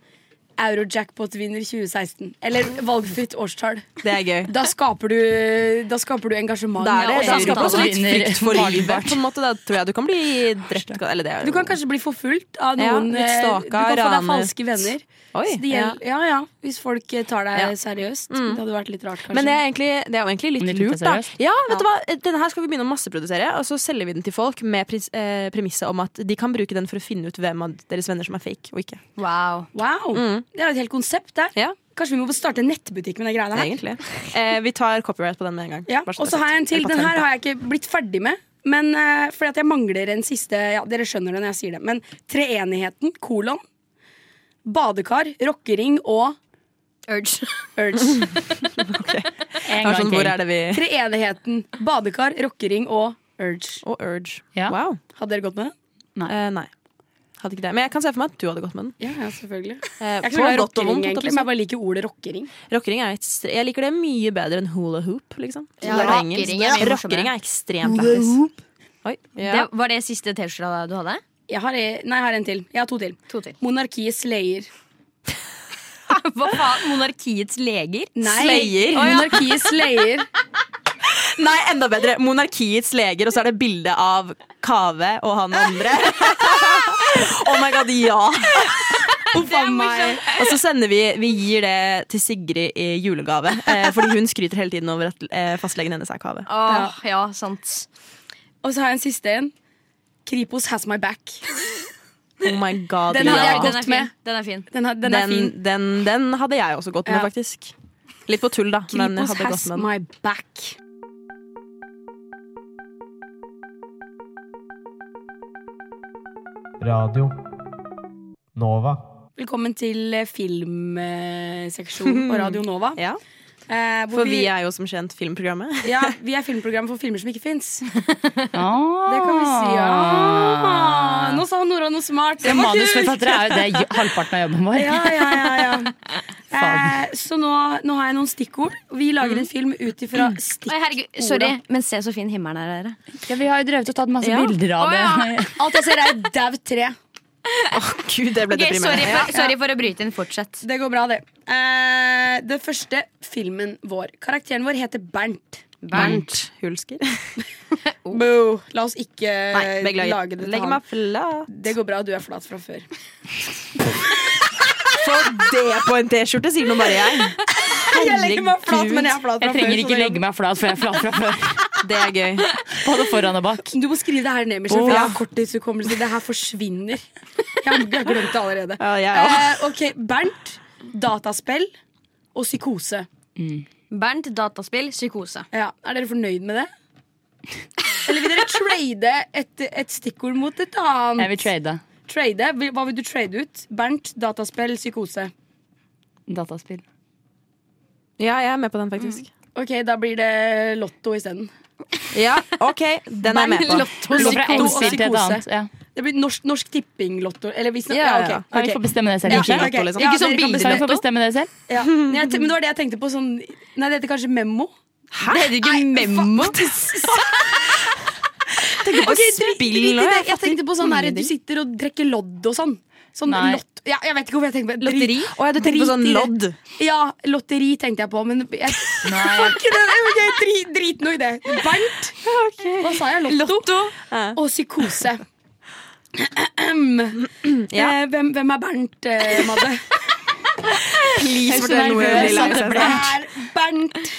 S5: Eurojackpot-vinner 2016. Eller valgfritt årstall.
S6: Det er gøy.
S5: Da skaper du, da skaper du engasjement.
S6: Da er det
S5: og da skaper
S6: skaper også litt
S7: vinner
S6: frykt for livet.
S7: Magelbart.
S6: På en måte, da tror jeg du kan bli drept. Eller det er
S5: Du
S6: jo
S5: kan kanskje bli forfulgt av
S6: Ja,
S5: noen
S6: litt
S5: eh,
S6: staka,
S5: Du kan få deg
S6: ranet.
S5: falske venner.
S6: Oi.
S5: Så det gjelder, ja. ja, Hvis folk eh, tar deg seriøst. Det hadde vært litt rart, kanskje.
S6: Mm. Men det er, egentlig, det er jo egentlig
S7: Om de tok
S6: litt
S7: det
S6: lurt, da.
S7: seriøst?
S6: Ja, vet du hva? Denne her skal vi begynne å masseprodusere, og så selger vi den til folk med pris- eh, premisset om at de kan bruke den for å finne ut hvem av deres venner som er fake og ikke.
S8: Wow.
S5: Wow! Det er jo et helt konsept der.
S6: Mm. Ja,
S5: Kanskje vi må starte en nettbutikk med de greiene her.
S6: egentlig. Eh, vi tar copyright på den med en gang.
S5: Ja,
S6: Bare
S5: og så
S6: det er
S5: har jeg en
S6: sagt.
S5: til.
S6: Eller
S5: Den
S6: patent,
S5: her
S6: da.
S5: har jeg ikke blitt ferdig med. Men eh, fordi at jeg mangler en siste ja, Dere skjønner det når jeg sier det. Men treenigheten, kolon, badekar, rockering og
S8: Urge.
S5: urge.
S7: En
S6: Det er sånn,
S7: gang
S6: hvor
S7: til.
S6: er det vi
S5: Treenigheten, badekar, rockering og urge.
S6: Og urge.
S7: Ja.
S6: Wow.
S5: Hadde dere gått med den?
S6: Eh, nei. Hadde ikke det. Men jeg kan se for meg at du hadde gått med den.
S5: Ja, ja selvfølgelig. Jeg
S6: Eh,
S5: er ikke
S6: på
S5: så glad i rockering,
S6: godt og vondt, holdt
S5: egentlig,
S6: jeg på
S5: men
S6: å
S5: jeg bare liker ordet rockering.
S6: si. Rockering er ekstre- Jeg liker det mye bedre enn hula hoop, liksom.
S8: Ja,
S6: Det er på engelsk.
S8: rockering er mye morsommere.
S6: Rockering er ekstremt lættis. Oi.
S8: Det,
S6: Ja.
S8: var det siste T-skjorta du hadde?
S5: Jeg har, e- nei, jeg har en til. Jeg har to til.
S8: To til.
S5: Monarkiet slayer.
S8: Hva faen? Monarkiets leger?
S5: Nei,
S6: Slayer?
S5: Monarkiet slayer.
S6: Nei, enda bedre. Monarkiets leger, og så er det bilde av Kave og han andre. oh my god, ja! Uff a meg. Og så sender vi Vi gir det til Sigrid i julegave, eh, fordi hun skryter hele tiden over at eh, fastlegen hennes er Kave.
S8: Åh, ja, sant.
S5: Og så har jeg en siste en. Kripos has my back.
S6: Oh my god,
S5: Den hadde
S6: ja.
S5: jeg gått
S8: den er
S5: med.
S8: fin. Den er fin.
S5: Den, har- den, er
S6: den,
S5: fin.
S6: den, den hadde jeg også gått med,
S5: Ja.
S6: faktisk. Litt på tull, da. Men jeg
S5: Kripos
S6: hadde
S5: has
S6: gått med den.
S5: my back.
S3: Radio Nova.
S5: Velkommen til eh, filmseksjonen på Radio Nova.
S6: Ja,
S5: eh, hvor
S6: for vi er jo som kjent filmprogrammet.
S5: ja, vi er filmprogrammet for filmer som ikke fins. Det
S7: Ah.
S5: kan vi si. Ja. Ah, Nå sa Nora noe smart. Det var kult!
S7: Manusforfattere er jo det er jo halvparten av jobben vår.
S5: Ja, ja, ja, ja. Eh, så nå, nå har jeg noen stikkord. Vi lager
S6: Mm.
S5: en film ut ifra
S8: Oi,
S5: stikkord.
S8: herregud, sorry, men se så fin himmelen er der.
S7: Ja, vi har jo drevet og tatt masse bilder av det.
S5: Alt jeg ser, er dau tre.
S6: Gud, det ble
S8: Ok, sorry,
S6: deprimerende.
S8: for, sorry for å bryte inn. Fortsett.
S5: Det går bra, det. Eh, det første filmen vår. Karakteren vår heter Bernt.
S6: Bernt Hulsker.
S5: Oh.
S6: Eh,
S5: Boo. La oss ikke
S6: Nei,
S5: lage
S6: beklager.
S5: det til
S6: Legger
S5: ham.
S6: meg flat.
S5: Det går bra, du er flat fra før.
S6: Få det på en T-skjorte, sier nå bare jeg.
S5: Jeg legger meg flat, men jeg er flat fra
S7: Jeg trenger
S5: før.
S7: ikke legge meg flat, for jeg er flat fra før.
S6: Det er gøy.
S7: Både foran og bak.
S5: Du må skrive det her ned, Michelle, for jeg har korttidshukommelse. Det her forsvinner. Jeg har jeg har glemt det allerede.
S6: Ja, jeg òg.
S5: Eh, ok, Bernt, dataspill og psykose.
S8: Bernt, dataspill, psykose.
S5: Ja, Er dere fornøyd med det? Eller vil dere trade et, et stikkord mot et annet?
S7: Jeg vil trade
S5: Trade? Vil- Hva vil du trade ut? Bernt, dataspill, psykose.
S7: dataspill.
S6: Ja, jeg er med på den, faktisk.
S5: Ok, da blir det Lotto isteden.
S6: Ja, OK, den er jeg med på.
S7: Du går fra
S5: Psyko
S7: ett
S5: og
S7: spill til et
S5: psykose.
S7: annet. Ja.
S5: Det blir Norsk, norsk Tipping-lotto. Eller hvis
S6: Ja, ja, ja.
S5: ok,
S7: Ja, vi
S5: ok.
S7: får bestemme det selv.
S5: Ja,
S7: kanskje?
S5: ok.
S6: Lotto, liksom.
S5: Ja,
S8: Ikke sånn
S5: dere kan
S8: bilder.
S7: Kan
S5: bestemme-
S7: vi få bestemme det selv?
S5: Ja. Men jeg te- Men det var det jeg tenkte på. Sånn, nei, det heter kanskje memo.
S8: Det heter ikke memo.
S5: Okay,
S6: spill nå, jeg
S5: jeg, jeg tenkte på sånn der, Du sitter og drikker lodd og sånn. Sånn
S7: Nei.
S5: lott, ja, jeg vet ikke hvorfor jeg tenkte på drit-
S8: Lotteri?
S6: Å ja, du tenker på sånn
S5: Drit i det.
S6: lodd?
S5: Ja, lotteri tenkte jeg på, men jeg, Fuck det, ok, dri- Drit nå i det. Bernt. Hva sa jeg? Lotto? Og psykose.
S6: Ja.
S5: eh, hvem, hvem er Bernt, eh, Madde? eh,
S6: Please,
S7: så
S6: fortell noe.
S7: nervøs
S6: jeg vil
S7: at det
S6: ha.
S5: Det er Bernt.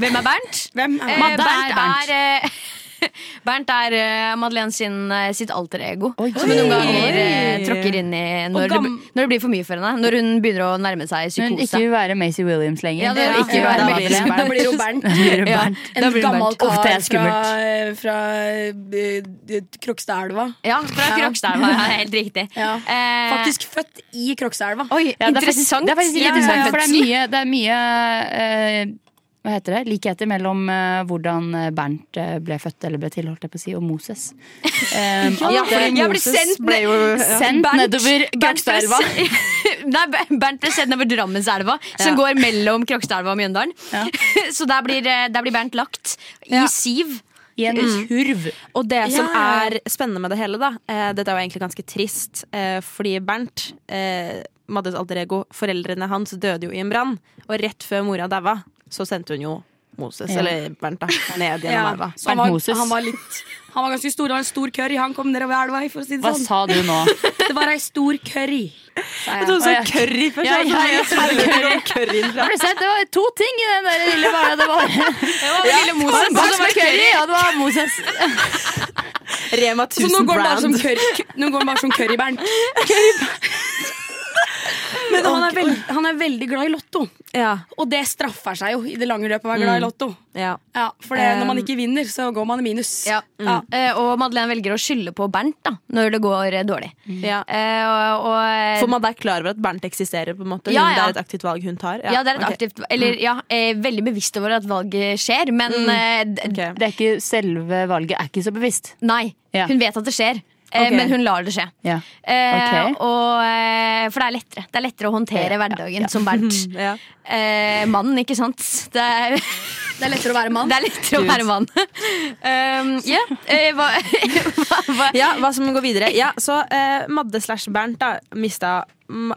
S8: Hvem er Bernt?
S5: Hvem
S8: Eh,
S5: er Bernt?
S8: Bernt
S7: er Bernt.
S8: er, eh, Bernt er eh, Madeleine sin, eh, sitt alter ego.
S7: Oi.
S8: Som hun noen ganger eh,
S6: Oi.
S8: tråkker inn i når, det,
S5: gam-
S8: når det blir for mye for henne. Når hun begynner å nærme seg
S7: Når hun ikke
S8: psykose.
S7: vil være Macy Williams lenger.
S8: Ja, det-
S7: ikke
S5: ja,
S7: være
S5: da
S8: blir det
S7: Madeleine.
S5: Da blir det jo Bernt.
S7: Da blir det
S8: Ja.
S7: Bernt.
S8: Da
S5: En
S8: blir det
S5: gammel
S8: Bernt.
S5: kar
S7: Uff, det er
S5: fra,
S7: skummelt.
S5: fra eh, Krokstadelva.
S8: Ja, fra Krokstadelva. Ja, helt riktig.
S5: Ja.
S8: Eh,
S5: Faktisk født i Krokstadelva.
S8: Oi,
S7: Ja, det er faktisk-
S8: interessant.
S7: Det er faktisk litt
S8: Ja, ja,
S7: interessant,
S8: ja.
S7: for det er mye, det er mye eh, hva heter det? Likheter mellom eh, hvordan Bernt eh, ble født eller ble til, holdt jeg på å si, og Moses. Eh, at, eh,
S6: Ja, fordi
S8: Jeg ble
S6: Moses
S8: sendt
S6: ble jo ja.
S7: Sendt
S8: Bernt-
S7: nedover
S8: Bernt ble
S7: Gaukstadelva.
S8: se- Nei, Ber- Bernt ble sendt over Drammenselva, som går mellom Krokstadelva og Mjøndalen. Så der blir, eh, der blir Bernt lagt i siv.
S7: I en kurv.
S6: Og det som
S5: ja,
S6: er spennende med det hele, da eh, Dette er jo egentlig ganske trist, eh, fordi Bernt, eh, Maddes alter ego, foreldrene hans døde jo i en brann. Og rett før mora daua, så sendte hun jo Moses,
S7: Ja.
S6: eller Bernt, da, ned gjennom elva.
S5: Så Han, var,
S7: Moses.
S5: han, var litt, han var ganske stor, han var en stor curry. Han kom nedover elva, for å si det
S7: Hva
S5: sånn.
S7: sa du nå?
S5: Det var ei stor curry. sa jeg.
S6: Eh, Jeg trodde du sa
S7: Å, ja.
S6: sånn curry først.
S7: Ja,
S6: jeg
S7: ja,
S6: var
S7: jeg
S6: sånn,
S7: trodde
S6: hvor kom curryen fra?
S7: Har du sett, Det var to ting i den der lille barna. Det var,
S5: Lille Moses.
S7: Og
S6: sånn
S7: det var curry, og det var Moses.
S6: Rema
S5: Så nå
S6: 1000
S5: går han bare som
S6: brand.
S5: curry, nå går han bare som currybernt. Men han er, veld, han er veldig glad i Lotto,
S6: Ja,
S5: og det straffer seg jo i det lange løpet å være glad
S6: Mm.
S5: i Lotto.
S6: ja.
S5: Ja, For det, når man
S6: Um.
S5: ikke vinner, så går man i minus. Mm.
S8: Ja. Eh, og Madeleine velger å skylde på Bernt da når det går eh, dårlig.
S6: ja.
S8: Eh, og, og,
S6: Mm. For man er klar over at Bernt eksisterer, på en måte.
S8: Ja,
S6: Hun-
S8: ja.
S6: Det er et aktivt valg hun tar.
S8: ja, det er et
S6: ok.
S8: aktivt
S5: Mm.
S8: Eller ja, eh, veldig bevisst over at valget skjer, men eh, d-
S6: Ok.
S7: Det er ikke, selve valget er ikke så bevisst.
S8: Nei.
S7: Ja.
S8: Hun vet at det skjer, eh,
S6: Ok.
S8: men hun lar det skje.
S7: Ja.
S8: Eh,
S7: Ok.
S8: og, eh, for det er lettere. Det er lettere å håndtere hverdagen som Bernt.
S6: Ja.
S8: Eh, mannen, ikke sant? Det er,
S5: Det er lettere å være mann.
S8: det er lettere å være mann. um, ja, eh, hva, hva, hva?
S6: Ja, hva som går videre. Ja, så eh, Madde slash Bernt da mista ma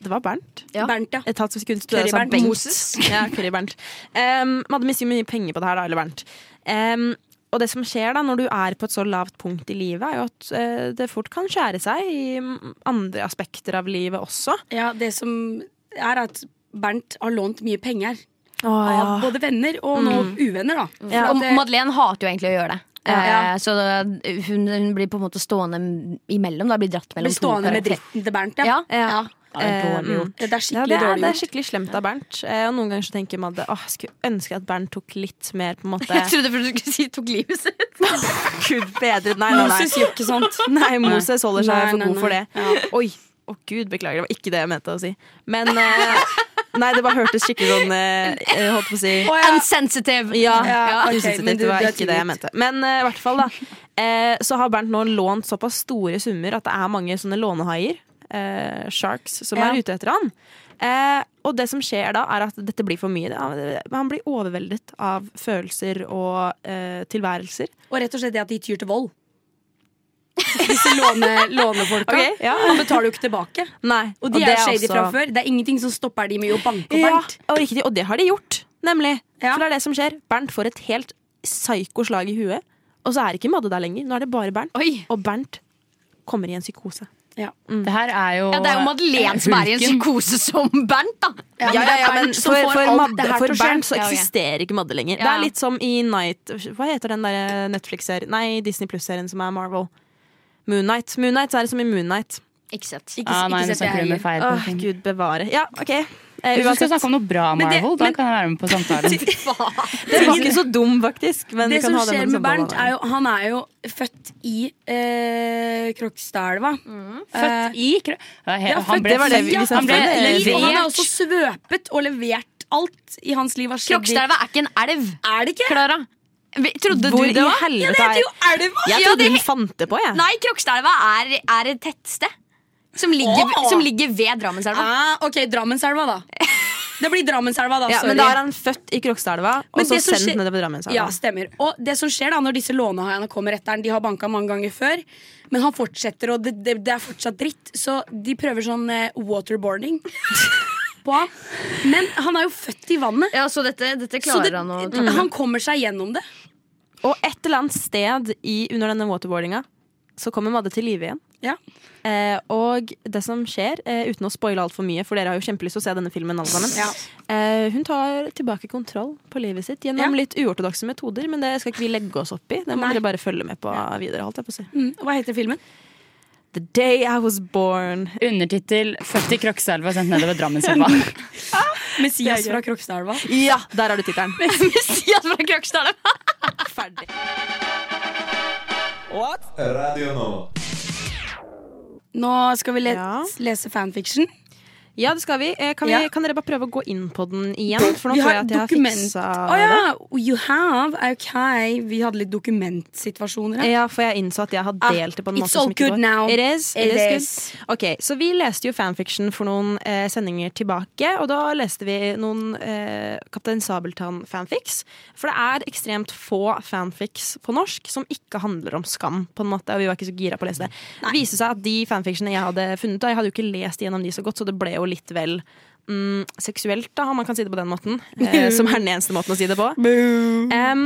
S6: Det var Bernt?
S8: Ja.
S5: Bernt, ja.
S6: Et halvt sekund til du sa
S5: Curry-Bernt.
S6: Bengt.
S5: Moses.
S6: Ja, Curry-Bernt. Em, Madde mister jo mye penger på det her, da, eller Bernt. Em, og det som skjer da når du er på et så lavt punkt i livet, er jo at eh, det fort kan skjære seg i mm, andre aspekter av livet også.
S5: Ja, det som er at Bernt har lånt mye penger
S6: Å,
S5: av
S6: ja.
S5: både venner og nå uvenner, da.
S6: Ah. Mm. Ja.
S5: For
S8: Og
S5: at eh, det-
S8: Madeleine hater jo egentlig å gjøre det.
S5: Ja, ja.
S8: Eh, Så da- hun, hun blir på en måte stående imellom. Da blir dratt mellom
S5: blir stående
S8: to
S5: med
S8: karakterer.
S5: dritten til Bernt,
S8: Ja.
S6: Ja.
S7: er dårlig
S6: Em,
S7: gjort.
S5: Det, det er
S6: Ja,
S5: skikkelig
S6: det er, det
S5: dårlig
S6: er
S5: gjort.
S6: skikkelig slemt av Bernt. Eh, og noen ganger så tenker Madde åh, skulle ønske at Bernt tok litt mer på en måte
S8: Jeg trodde først du skulle si 'tok livet sitt'.
S6: Gud bedre. Nei, nei, nei.
S5: Moses gjør ikke sånt.
S6: Nei, Moses holder seg
S5: Nei,
S6: for
S5: nei,
S6: god for det.
S5: nei.
S6: Oi, å gud, beklager, det var ikke det jeg mente å si. Men eh, Nei, det bare hørtes skikkelig sånn eh, eh, Holdt på å si
S8: Unsensitive!
S6: Ja,
S5: Ja, ok,
S6: usensitivt,
S5: men du-
S6: det var
S5: du er
S6: ikke det
S5: tilgitt.
S6: jeg mente. Men eh, i hvert fall, da. eh, så har Bernt nå lånt såpass store summer at det er mange sånne lånehaier, eh, sharks, som
S5: Ja.
S6: er ute etter han. Eh, og det som skjer da, er at dette blir for mye. Da. Han blir overveldet av følelser og eh, tilværelser.
S5: Og rett og slett det at de tyr til vold. Disse låne, lånefolka.
S6: Ok, ja.
S5: Han betaler jo ikke tilbake.
S6: Nei,
S5: Og de
S6: det
S5: er shady
S6: også-
S5: fra før. Det er ingenting som stopper de med å banke opp
S6: Ja,
S5: Bernt.
S6: og riktig, og det har de gjort, nemlig.
S5: Ja.
S6: For det er det som skjer. Bernt får et helt psykoslag i huet, og så er ikke Madde der lenger. Nå er det bare Bernt.
S8: Oi.
S6: Og Bernt kommer i en psykose.
S7: Det her er jo
S8: Ja, det er jo Madeleine som er i en
S7: Hulken.
S8: psykose som Bernt, da.
S5: Ja, men det er Bernt som
S6: for,
S5: får
S6: for,
S5: alt
S6: Madde,
S5: det her
S6: for
S5: til å skje.
S6: Bernt så
S8: Ja, ok.
S6: eksisterer ikke Madde lenger. Det
S8: Ja.
S6: er litt som i Night Hva heter den der eh, Netflix-serien? Nei, Disney Pluss-serien som er Marvel. Moonnight. Moonnight så er det som i Moonnight.
S8: Ikke sett.
S5: Ikke,
S7: Ja,
S5: ikke
S7: nei, nå
S5: sett det
S7: snakker du med
S5: jeg
S7: feil.
S6: Åh,
S7: person.
S6: gud bevare. Ja, OK. Eh,
S7: Hvis du skal
S6: uansett.
S7: snakke om noe bra
S5: Men det-
S7: Marvel, da
S5: men-
S7: kan jeg være med på samtalen.
S6: Den var ikke så dum, faktisk. Men
S5: Det
S6: vi kan
S5: som
S6: ha den liksom
S5: skjer
S6: som
S5: med Bernt,
S6: samtale.
S5: er jo han er jo født i eh, Krokstadelva.
S7: Født i Kro- Ja, he-
S5: Ja,
S7: Han
S5: født-
S7: ble
S6: det var det vi- vi
S7: han ble
S6: snakket om.
S5: Liv, og han er
S7: levert
S5: også svøpet og levert. Alt i hans liv har skjedd i
S8: Krokstadelva er ikke en elv,
S5: Er det ikke?
S8: Klara. Vi- Trodde
S6: Hvor
S8: du det
S6: i
S8: var?
S6: helvete
S5: Det heter
S6: er
S5: jo elva!
S6: Jeg
S8: Ja,
S6: trodde
S8: det-
S6: hun fant det på, jeg.
S8: Nei, Krokstadelva er, er et tettsted. Som ligger,
S5: Åh!
S8: som ligger ved Drammenselva.
S5: Ah, ok, Drammenselva, da. Det blir Drammenselva, da.
S6: ja,
S5: sorry.
S6: men da er han født i Krokstadelva og
S5: Men
S6: så
S5: det som
S6: sendt
S5: skje-
S6: nedover Drammenselva.
S5: Ja, stemmer. Og det som skjer da når disse lånehaiene kommer etter han, de har banka mange ganger før, men han fortsetter, og det, det, det er fortsatt dritt, så de prøver sånn eh, waterboarding på han. Men han er jo født i vannet,
S8: Ja, så dette, dette
S5: så
S8: klarer
S5: det,
S8: han å
S5: han,
S8: ta.
S5: kommer seg gjennom det.
S6: Og et eller annet sted i, under denne waterboardinga så kommer Madde til live igjen.
S5: Ja.
S6: Eh, og det som skjer, eh, uten å spoile altfor mye, for dere har jo kjempelyst til å se denne filmen alle sammen
S5: Ja.
S6: eh, Hun tar tilbake kontroll på livet sitt gjennom
S5: Ja.
S6: litt uortodokse metoder, men det skal ikke vi legge oss opp i. Det må dere bare følge med på videre. Holdt jeg på å si.
S5: Mm, hva heter filmen?
S6: The day I was born.
S7: Undertittel 'Født i Krokselva, sendt nedover Drammenselva'.
S5: Messias fra Krokstadelva.
S6: Ja, der har du tittelen.
S8: Messias fra Krokstadelva!
S6: Ferdig.
S3: Radio nå.
S5: Nå skal vi le
S6: Ja.
S5: lese fanfiction.
S6: Ja, det skal vi. Eh, Kan, vi,
S7: Ja.
S6: kan dere bare prøve å gå inn på den igjen? For nå
S7: Vi
S6: tror
S7: har
S6: jeg at jeg har
S7: dokument.
S6: fiksa
S5: Å ja! You have. Ok. Vi hadde litt dokumentsituasjoner
S6: det.
S5: her.
S6: Ja, for jeg innså at jeg har
S5: Ah,
S6: delt det på en måte
S5: it's all
S6: som ikke
S5: good
S6: går.
S5: now.
S6: It is, it
S5: It
S6: is good.
S5: is.
S6: Ok, så vi leste jo fanfiction for noen eh, sendinger tilbake, og da leste vi noen eh, Kaptein Sabeltann-fanfics. For det er ekstremt få fanfics på norsk som ikke handler om skam, på en måte, og vi var ikke så gira på å lese det. Det viste seg at de fanfictionene jeg hadde funnet, da, jeg hadde jo ikke lest gjennom de så godt, så det ble jo litt vel mm, seksuelt, da, om man kan si det på den måten. Eh, som er den eneste måten å si det på. Em,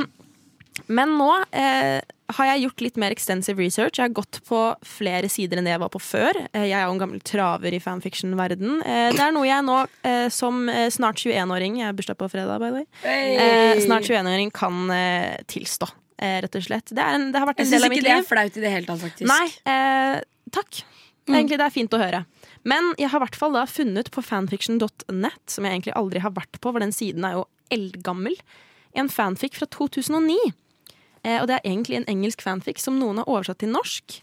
S6: men nå eh, har jeg gjort litt mer extensive research. Jeg har gått på flere sider enn det jeg var på før. Eh, jeg er jo en gammel traver i fanfiction-verden. Eh, det er noe jeg nå, eh, som eh, snart 21-åring Jeg har bursdag på fredag, by the way. Eh, snart 21-åring kan eh, tilstå, eh, rett og slett. Det, er en, det har vært
S5: Jeg
S6: en del
S5: syns
S6: av
S5: ikke
S6: mitt
S5: det
S6: liv.
S5: er flaut i det hele tatt, faktisk.
S6: Nei, eh, takk. Egentlig det er fint å høre. Men jeg har i hvert fall da funnet på fanfiction.net, som jeg egentlig aldri har vært på, for den siden er jo eldgammel, en fanfic fra 2009. Eh, og det er egentlig en engelsk fanfic som noen har oversatt til norsk.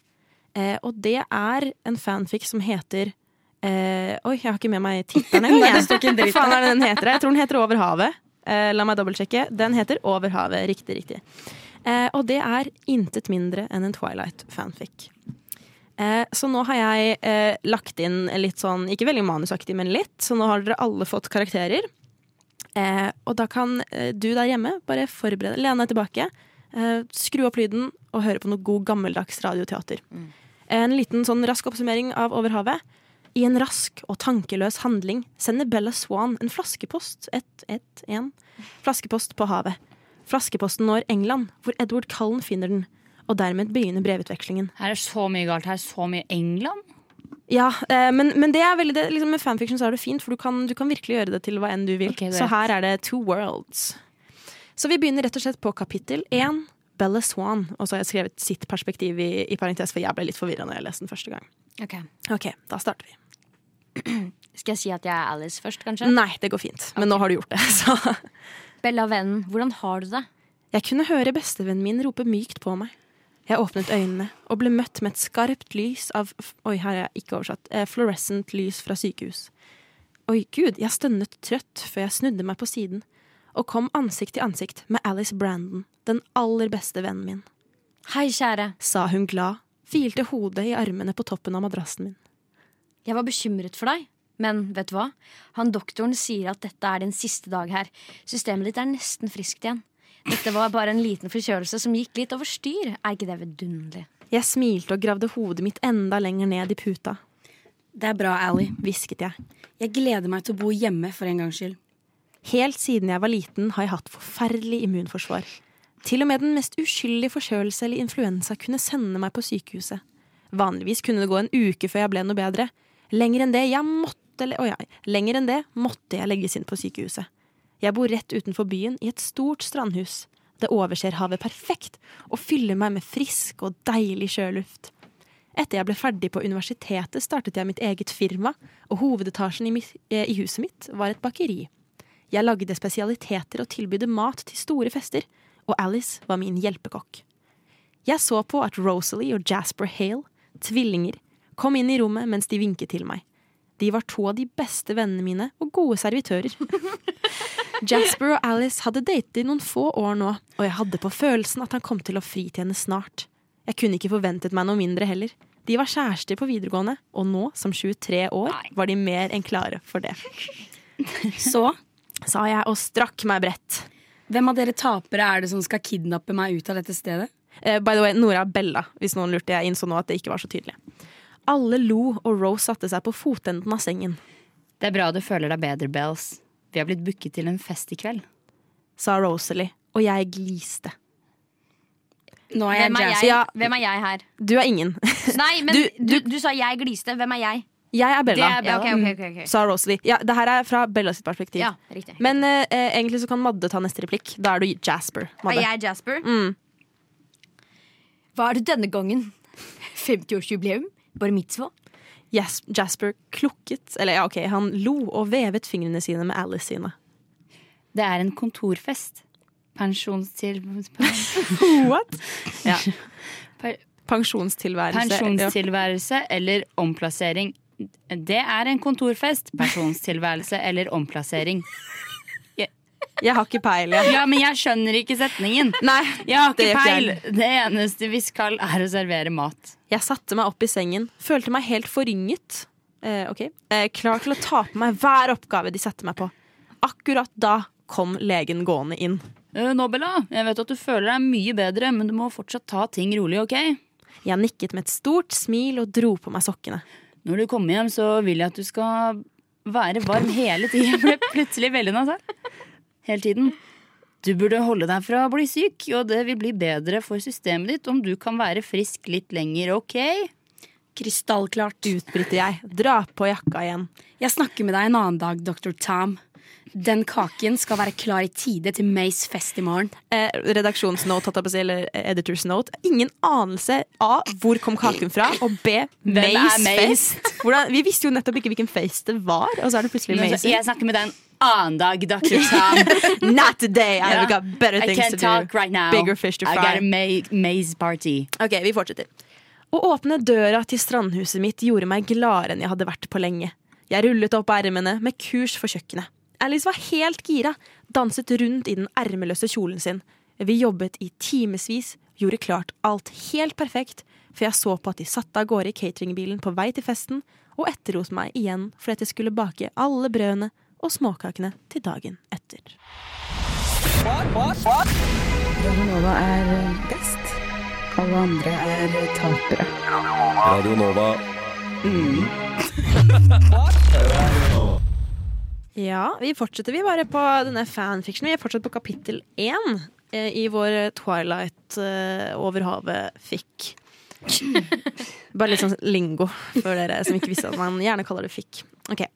S6: Eh, og det er en fanfic som heter eh, Oi, jeg har ikke med meg tittelen engang. jeg. Hva faen er det den heter? Jeg tror den heter Over havet. Eh, la meg dobbeltsjekke. Den heter Over havet. Riktig, riktig. Eh, og det er intet mindre enn en Twilight-fanfic. Eh, så nå har jeg eh, lagt inn litt sånn, ikke veldig manusaktig, men litt. Så nå har dere alle fått karakterer. Eh, og da kan eh, du der hjemme bare forberede Lene er tilbake. Eh, skru opp lyden og høre på noe god gammeldags radioteater. En liten sånn rask oppsummering av Over havet. I en rask og tankeløs handling sender Bella Swan en flaskepost et, et, en, flaskepost på havet. Flaskeposten når England, hvor Edward Cullen finner den. Og dermed begynner brevutvekslingen.
S7: Her er så mye galt. Her er så mye England.
S6: Ja, eh, men, men det er veldig det, liksom med fanfiction så er det fint, for du kan, du kan virkelig gjøre det til hva enn du vil.
S7: Ok, greit.
S6: så her er det two worlds. Så vi begynner rett og slett på kapittel én, Bella Swan. Og så har jeg skrevet sitt perspektiv i, i parentes, for jeg ble litt forvirra når jeg leste den første gang.
S8: Ok.
S6: Ok, da starter vi.
S8: Skal jeg si at jeg er Alice først, kanskje?
S6: Nei, det går fint. Men nå har du gjort det, så
S8: Bella vennen, hvordan har du det?
S6: Jeg kunne høre bestevennen min rope mykt på meg. Jeg åpnet øynene og ble møtt med et skarpt lys av f- Oi, her har jeg ikke oversatt. Eh, fluorescent lys fra sykehus. Oi, gud, jeg stønnet trøtt før jeg snudde meg på siden og kom ansikt til ansikt med Alice Brandon, den aller beste vennen min,
S8: Hei, kjære.
S6: sa hun glad, hvilte hodet i armene på toppen av madrassen min.
S8: Jeg var bekymret for deg. Men vet du hva? Han doktoren sier at dette er din siste dag her. Systemet ditt er nesten friskt igjen. Dette var bare en liten forkjølelse som gikk litt over styr. Er ikke det vidunderlig?
S6: Jeg smilte og gravde hodet mitt enda lenger ned i puta,
S5: Det er bra, Ally.
S6: hvisket jeg.
S5: Jeg gleder meg til å bo hjemme for en gangs skyld.
S6: Helt siden jeg var liten har jeg hatt forferdelig immunforsvar. Til og med den mest uskyldige forkjølelse eller influensa kunne sende meg på sykehuset. Vanligvis kunne det gå en uke før jeg ble noe bedre. Lenger enn det jeg måtte, le- å ja, lenger enn det måtte jeg legges inn på sykehuset. Jeg bor rett utenfor byen i et stort strandhus. Det overser havet perfekt og fyller meg med frisk og deilig sjøluft. Etter jeg ble ferdig på universitetet, startet jeg mitt eget firma, og hovedetasjen i, mis- eh, i huset mitt var et bakeri. Jeg lagde spesialiteter og tilbydde mat til store fester, og Alice var min hjelpekokk. Jeg så på at Rosalie og Jasper Hale, tvillinger, kom inn i rommet mens de vinket til meg. De var to av de beste vennene mine og gode servitører. Jasper og Alice hadde datet i noen få år nå, og jeg hadde på følelsen at han kom til å fri til henne snart. Jeg kunne ikke forventet meg noe mindre heller. De var kjærester på videregående, og nå, som 23 år, var de mer enn klare for det,
S5: Så
S6: sa jeg og strakk meg bredt.
S5: hvem av dere tapere er det som skal kidnappe meg ut av dette stedet?
S6: Eh, by the way, Nora Bella, hvis noen lurte. Jeg innså nå at det ikke var så tydelig. Alle lo, og Rose satte seg på fotenden av sengen,
S7: Det er bra du føler deg bedre, Bells. Vi har blitt booket til en fest i kveld.
S6: sa Rosalie, og jeg gliste.
S5: Nå er jeg
S8: Hvem er
S5: jazz.
S8: jeg,
S6: Ja.
S8: Hvem er jeg her?
S6: Du er ingen.
S8: Nei, men du,
S6: Du-
S8: du, sa jeg gliste. Hvem er jeg?
S6: Jeg er Bella,
S8: Ja, Mm. ok, ok, ok, ok.
S6: sa Rosalie. Ja, det her er fra Bella sitt perspektiv.
S8: Ja, riktig.
S6: Men eh, eh, egentlig så kan Madde ta neste replikk. Da er du Jasper.
S8: Er
S6: Madde.
S8: jeg Jasper? Hva er det denne gangen? 50-årsjubileum? Bare mitzvah?
S6: Jas Jasper klukket Eller ja, OK, han lo og vevet fingrene sine med Alice sine.
S7: Det er en kontorfest. Pensjonstil...
S6: What? Ja.
S7: Per-
S6: Pensjonstilværelse.
S7: Pensjonstilværelse eller omplassering. Det er en kontorfest, pensjonstilværelse eller omplassering.
S6: Jeg har ikke peil, jeg.
S7: Ja, men jeg skjønner ikke setningen.
S6: Nei,
S7: Jeg har
S6: det
S7: ikke
S6: gjør
S7: peil.
S6: ikke jeg.
S7: Det eneste vi skal, er å servere mat.
S6: Jeg satte meg opp i sengen, følte meg helt forynget. Eh, ok. Eh, klar til å ta på meg hver oppgave de satte meg på. Akkurat da kom legen gående inn.
S7: Eh, Nobela, jeg vet at du føler deg mye bedre, men du må fortsatt ta ting rolig, ok?
S6: Jeg nikket med et stort smil og dro på meg sokkene.
S7: Når du kommer hjem, så vil jeg at du skal være varm hele tiden. Jeg ble plutselig veldig nasal. Hele tiden. Du burde holde deg fra å bli syk, og det vil bli bedre for systemet ditt om du kan være frisk litt lenger, ok?
S5: Krystallklart.
S6: Utbryter jeg. Dra på jakka igjen.
S5: Jeg snakker med deg en annen dag, Dr. Tom. Den kaken skal være klar i tide til Mays fest i morgen.
S6: Eh, redaksjonsnote, holdt jeg på å si, eller eh, editors note. Ingen anelse A. Hvor kom kaken fra? Og B.
S7: er
S6: Mays
S7: Mays?
S6: fest. Hvordan, vi visste jo nettopp ikke hvilken face det var, og så er det plutselig Mays.
S7: altså, Jeg snakker med deg en annen dag, Dr. Tom.
S6: Not today! I've
S7: Ja.
S6: got better
S7: I
S6: things
S7: can't
S6: to
S7: talk
S6: do.
S7: right now.
S6: Bigger fish to
S7: I got
S6: fry.
S7: a ma maze party.
S6: Ok, vi fortsetter. Å åpne døra til strandhuset mitt gjorde meg gladere enn jeg hadde vært på lenge. Jeg rullet opp ermene med kurs for kjøkkenet. Alice var helt gira, danset rundt i den ermeløse kjolen sin. Vi jobbet i timevis, gjorde klart alt helt perfekt, for jeg så på at de satte av gårde i cateringbilen på vei til festen, og etterlot meg igjen for at jeg skulle bake alle brødene og småkakene til dagen etter.
S3: Radio Nova.
S6: Ja, vi fortsetter vi bare på denne fanfictionen. Vi er fortsatt på kapittel én eh, i vår Twilight eh, over havet-fikk. bare litt sånn lingo for dere som ikke visste at man gjerne kaller det fikk. Ok.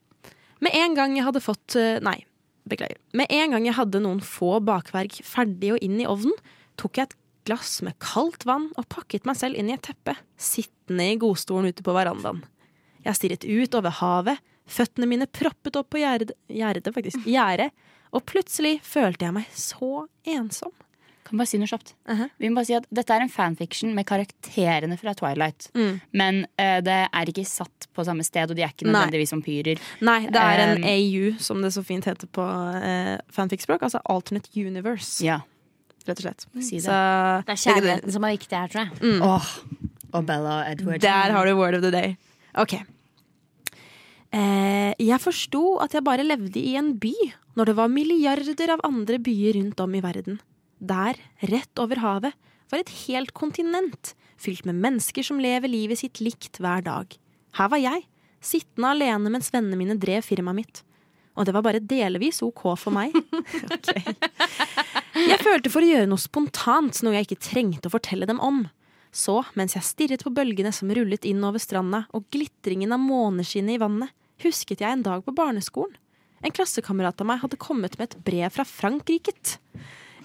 S6: Med en gang jeg hadde fått eh, Nei, beklager. Med en gang jeg hadde noen få bakverk ferdig og inn i ovnen, tok jeg et glass med kaldt vann og pakket meg selv inn i et teppe, sittende i godstolen ute på verandaen. Jeg stirret ut over havet, føttene mine proppet opp på gjerdet, gjerdet faktisk, gjerdet, og plutselig følte jeg meg så ensom.
S7: Kan bare si noe kjapt.
S6: Mhm.
S7: Vi må bare si at Dette er en fanfiction med karakterene fra Twilight.
S6: Mm.
S7: Men eh, det er ikke satt på samme sted, og de er ikke
S6: Nei.
S7: nødvendigvis vampyrer.
S6: Nei, det er en
S7: Um,
S6: AU, som det så fint heter på eh, fanfic-språk, altså Alternate Universe,
S7: Ja,
S6: rett og slett.
S7: si det.
S6: Så
S8: Det er kjærligheten som er viktig her, tror jeg.
S7: Åh, og Bella og Edward.
S6: der har du word of the day. Ok. Eh, jeg forsto at jeg bare levde i en by når det var milliarder av andre byer rundt om i verden. Der, rett over havet, var et helt kontinent fylt med mennesker som lever livet sitt likt hver dag. Her var jeg, sittende alene mens vennene mine drev firmaet mitt. Og det var bare delvis OK for meg. Ok. Jeg følte for å gjøre noe spontant, noe jeg ikke trengte å fortelle dem om. Så, mens jeg stirret på bølgene som rullet inn over stranda og glitringen av måneskinnet i vannet, husket jeg en dag på barneskolen. En klassekamerat av meg hadde kommet med et brev fra Frankrike.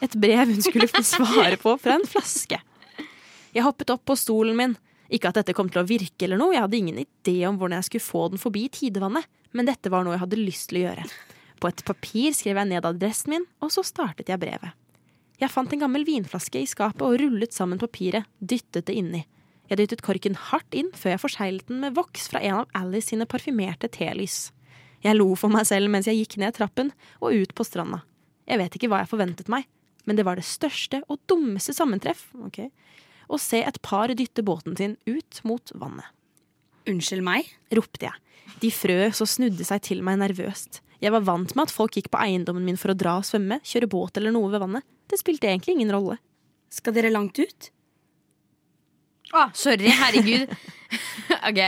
S6: Et brev hun skulle få svare på fra en flaske. Jeg hoppet opp på stolen min. Ikke at dette kom til å virke eller noe, jeg hadde ingen idé om hvordan jeg skulle få den forbi tidevannet, men dette var noe jeg hadde lyst til å gjøre. På et papir skrev jeg ned adressen min, og så startet jeg brevet. Jeg fant en gammel vinflaske i skapet og rullet sammen papiret, dyttet det inni. Jeg dyttet korken hardt inn før jeg forseglet den med voks fra en av Alice sine parfymerte telys. Jeg lo for meg selv mens jeg gikk ned trappen og ut på stranda. Jeg vet ikke hva jeg forventet meg, men det var det største og dummeste sammentreff ok, å se et par dytte båten sin ut mot vannet
S5: Unnskyld meg?
S6: ropte jeg. De frøs og snudde seg til meg nervøst. Jeg var vant med at folk gikk på eiendommen min for å dra og svømme, kjøre båt eller noe ved vannet. Det spilte egentlig ingen rolle.
S5: Skal dere langt ut?
S8: Ah, sorry, herregud. ok.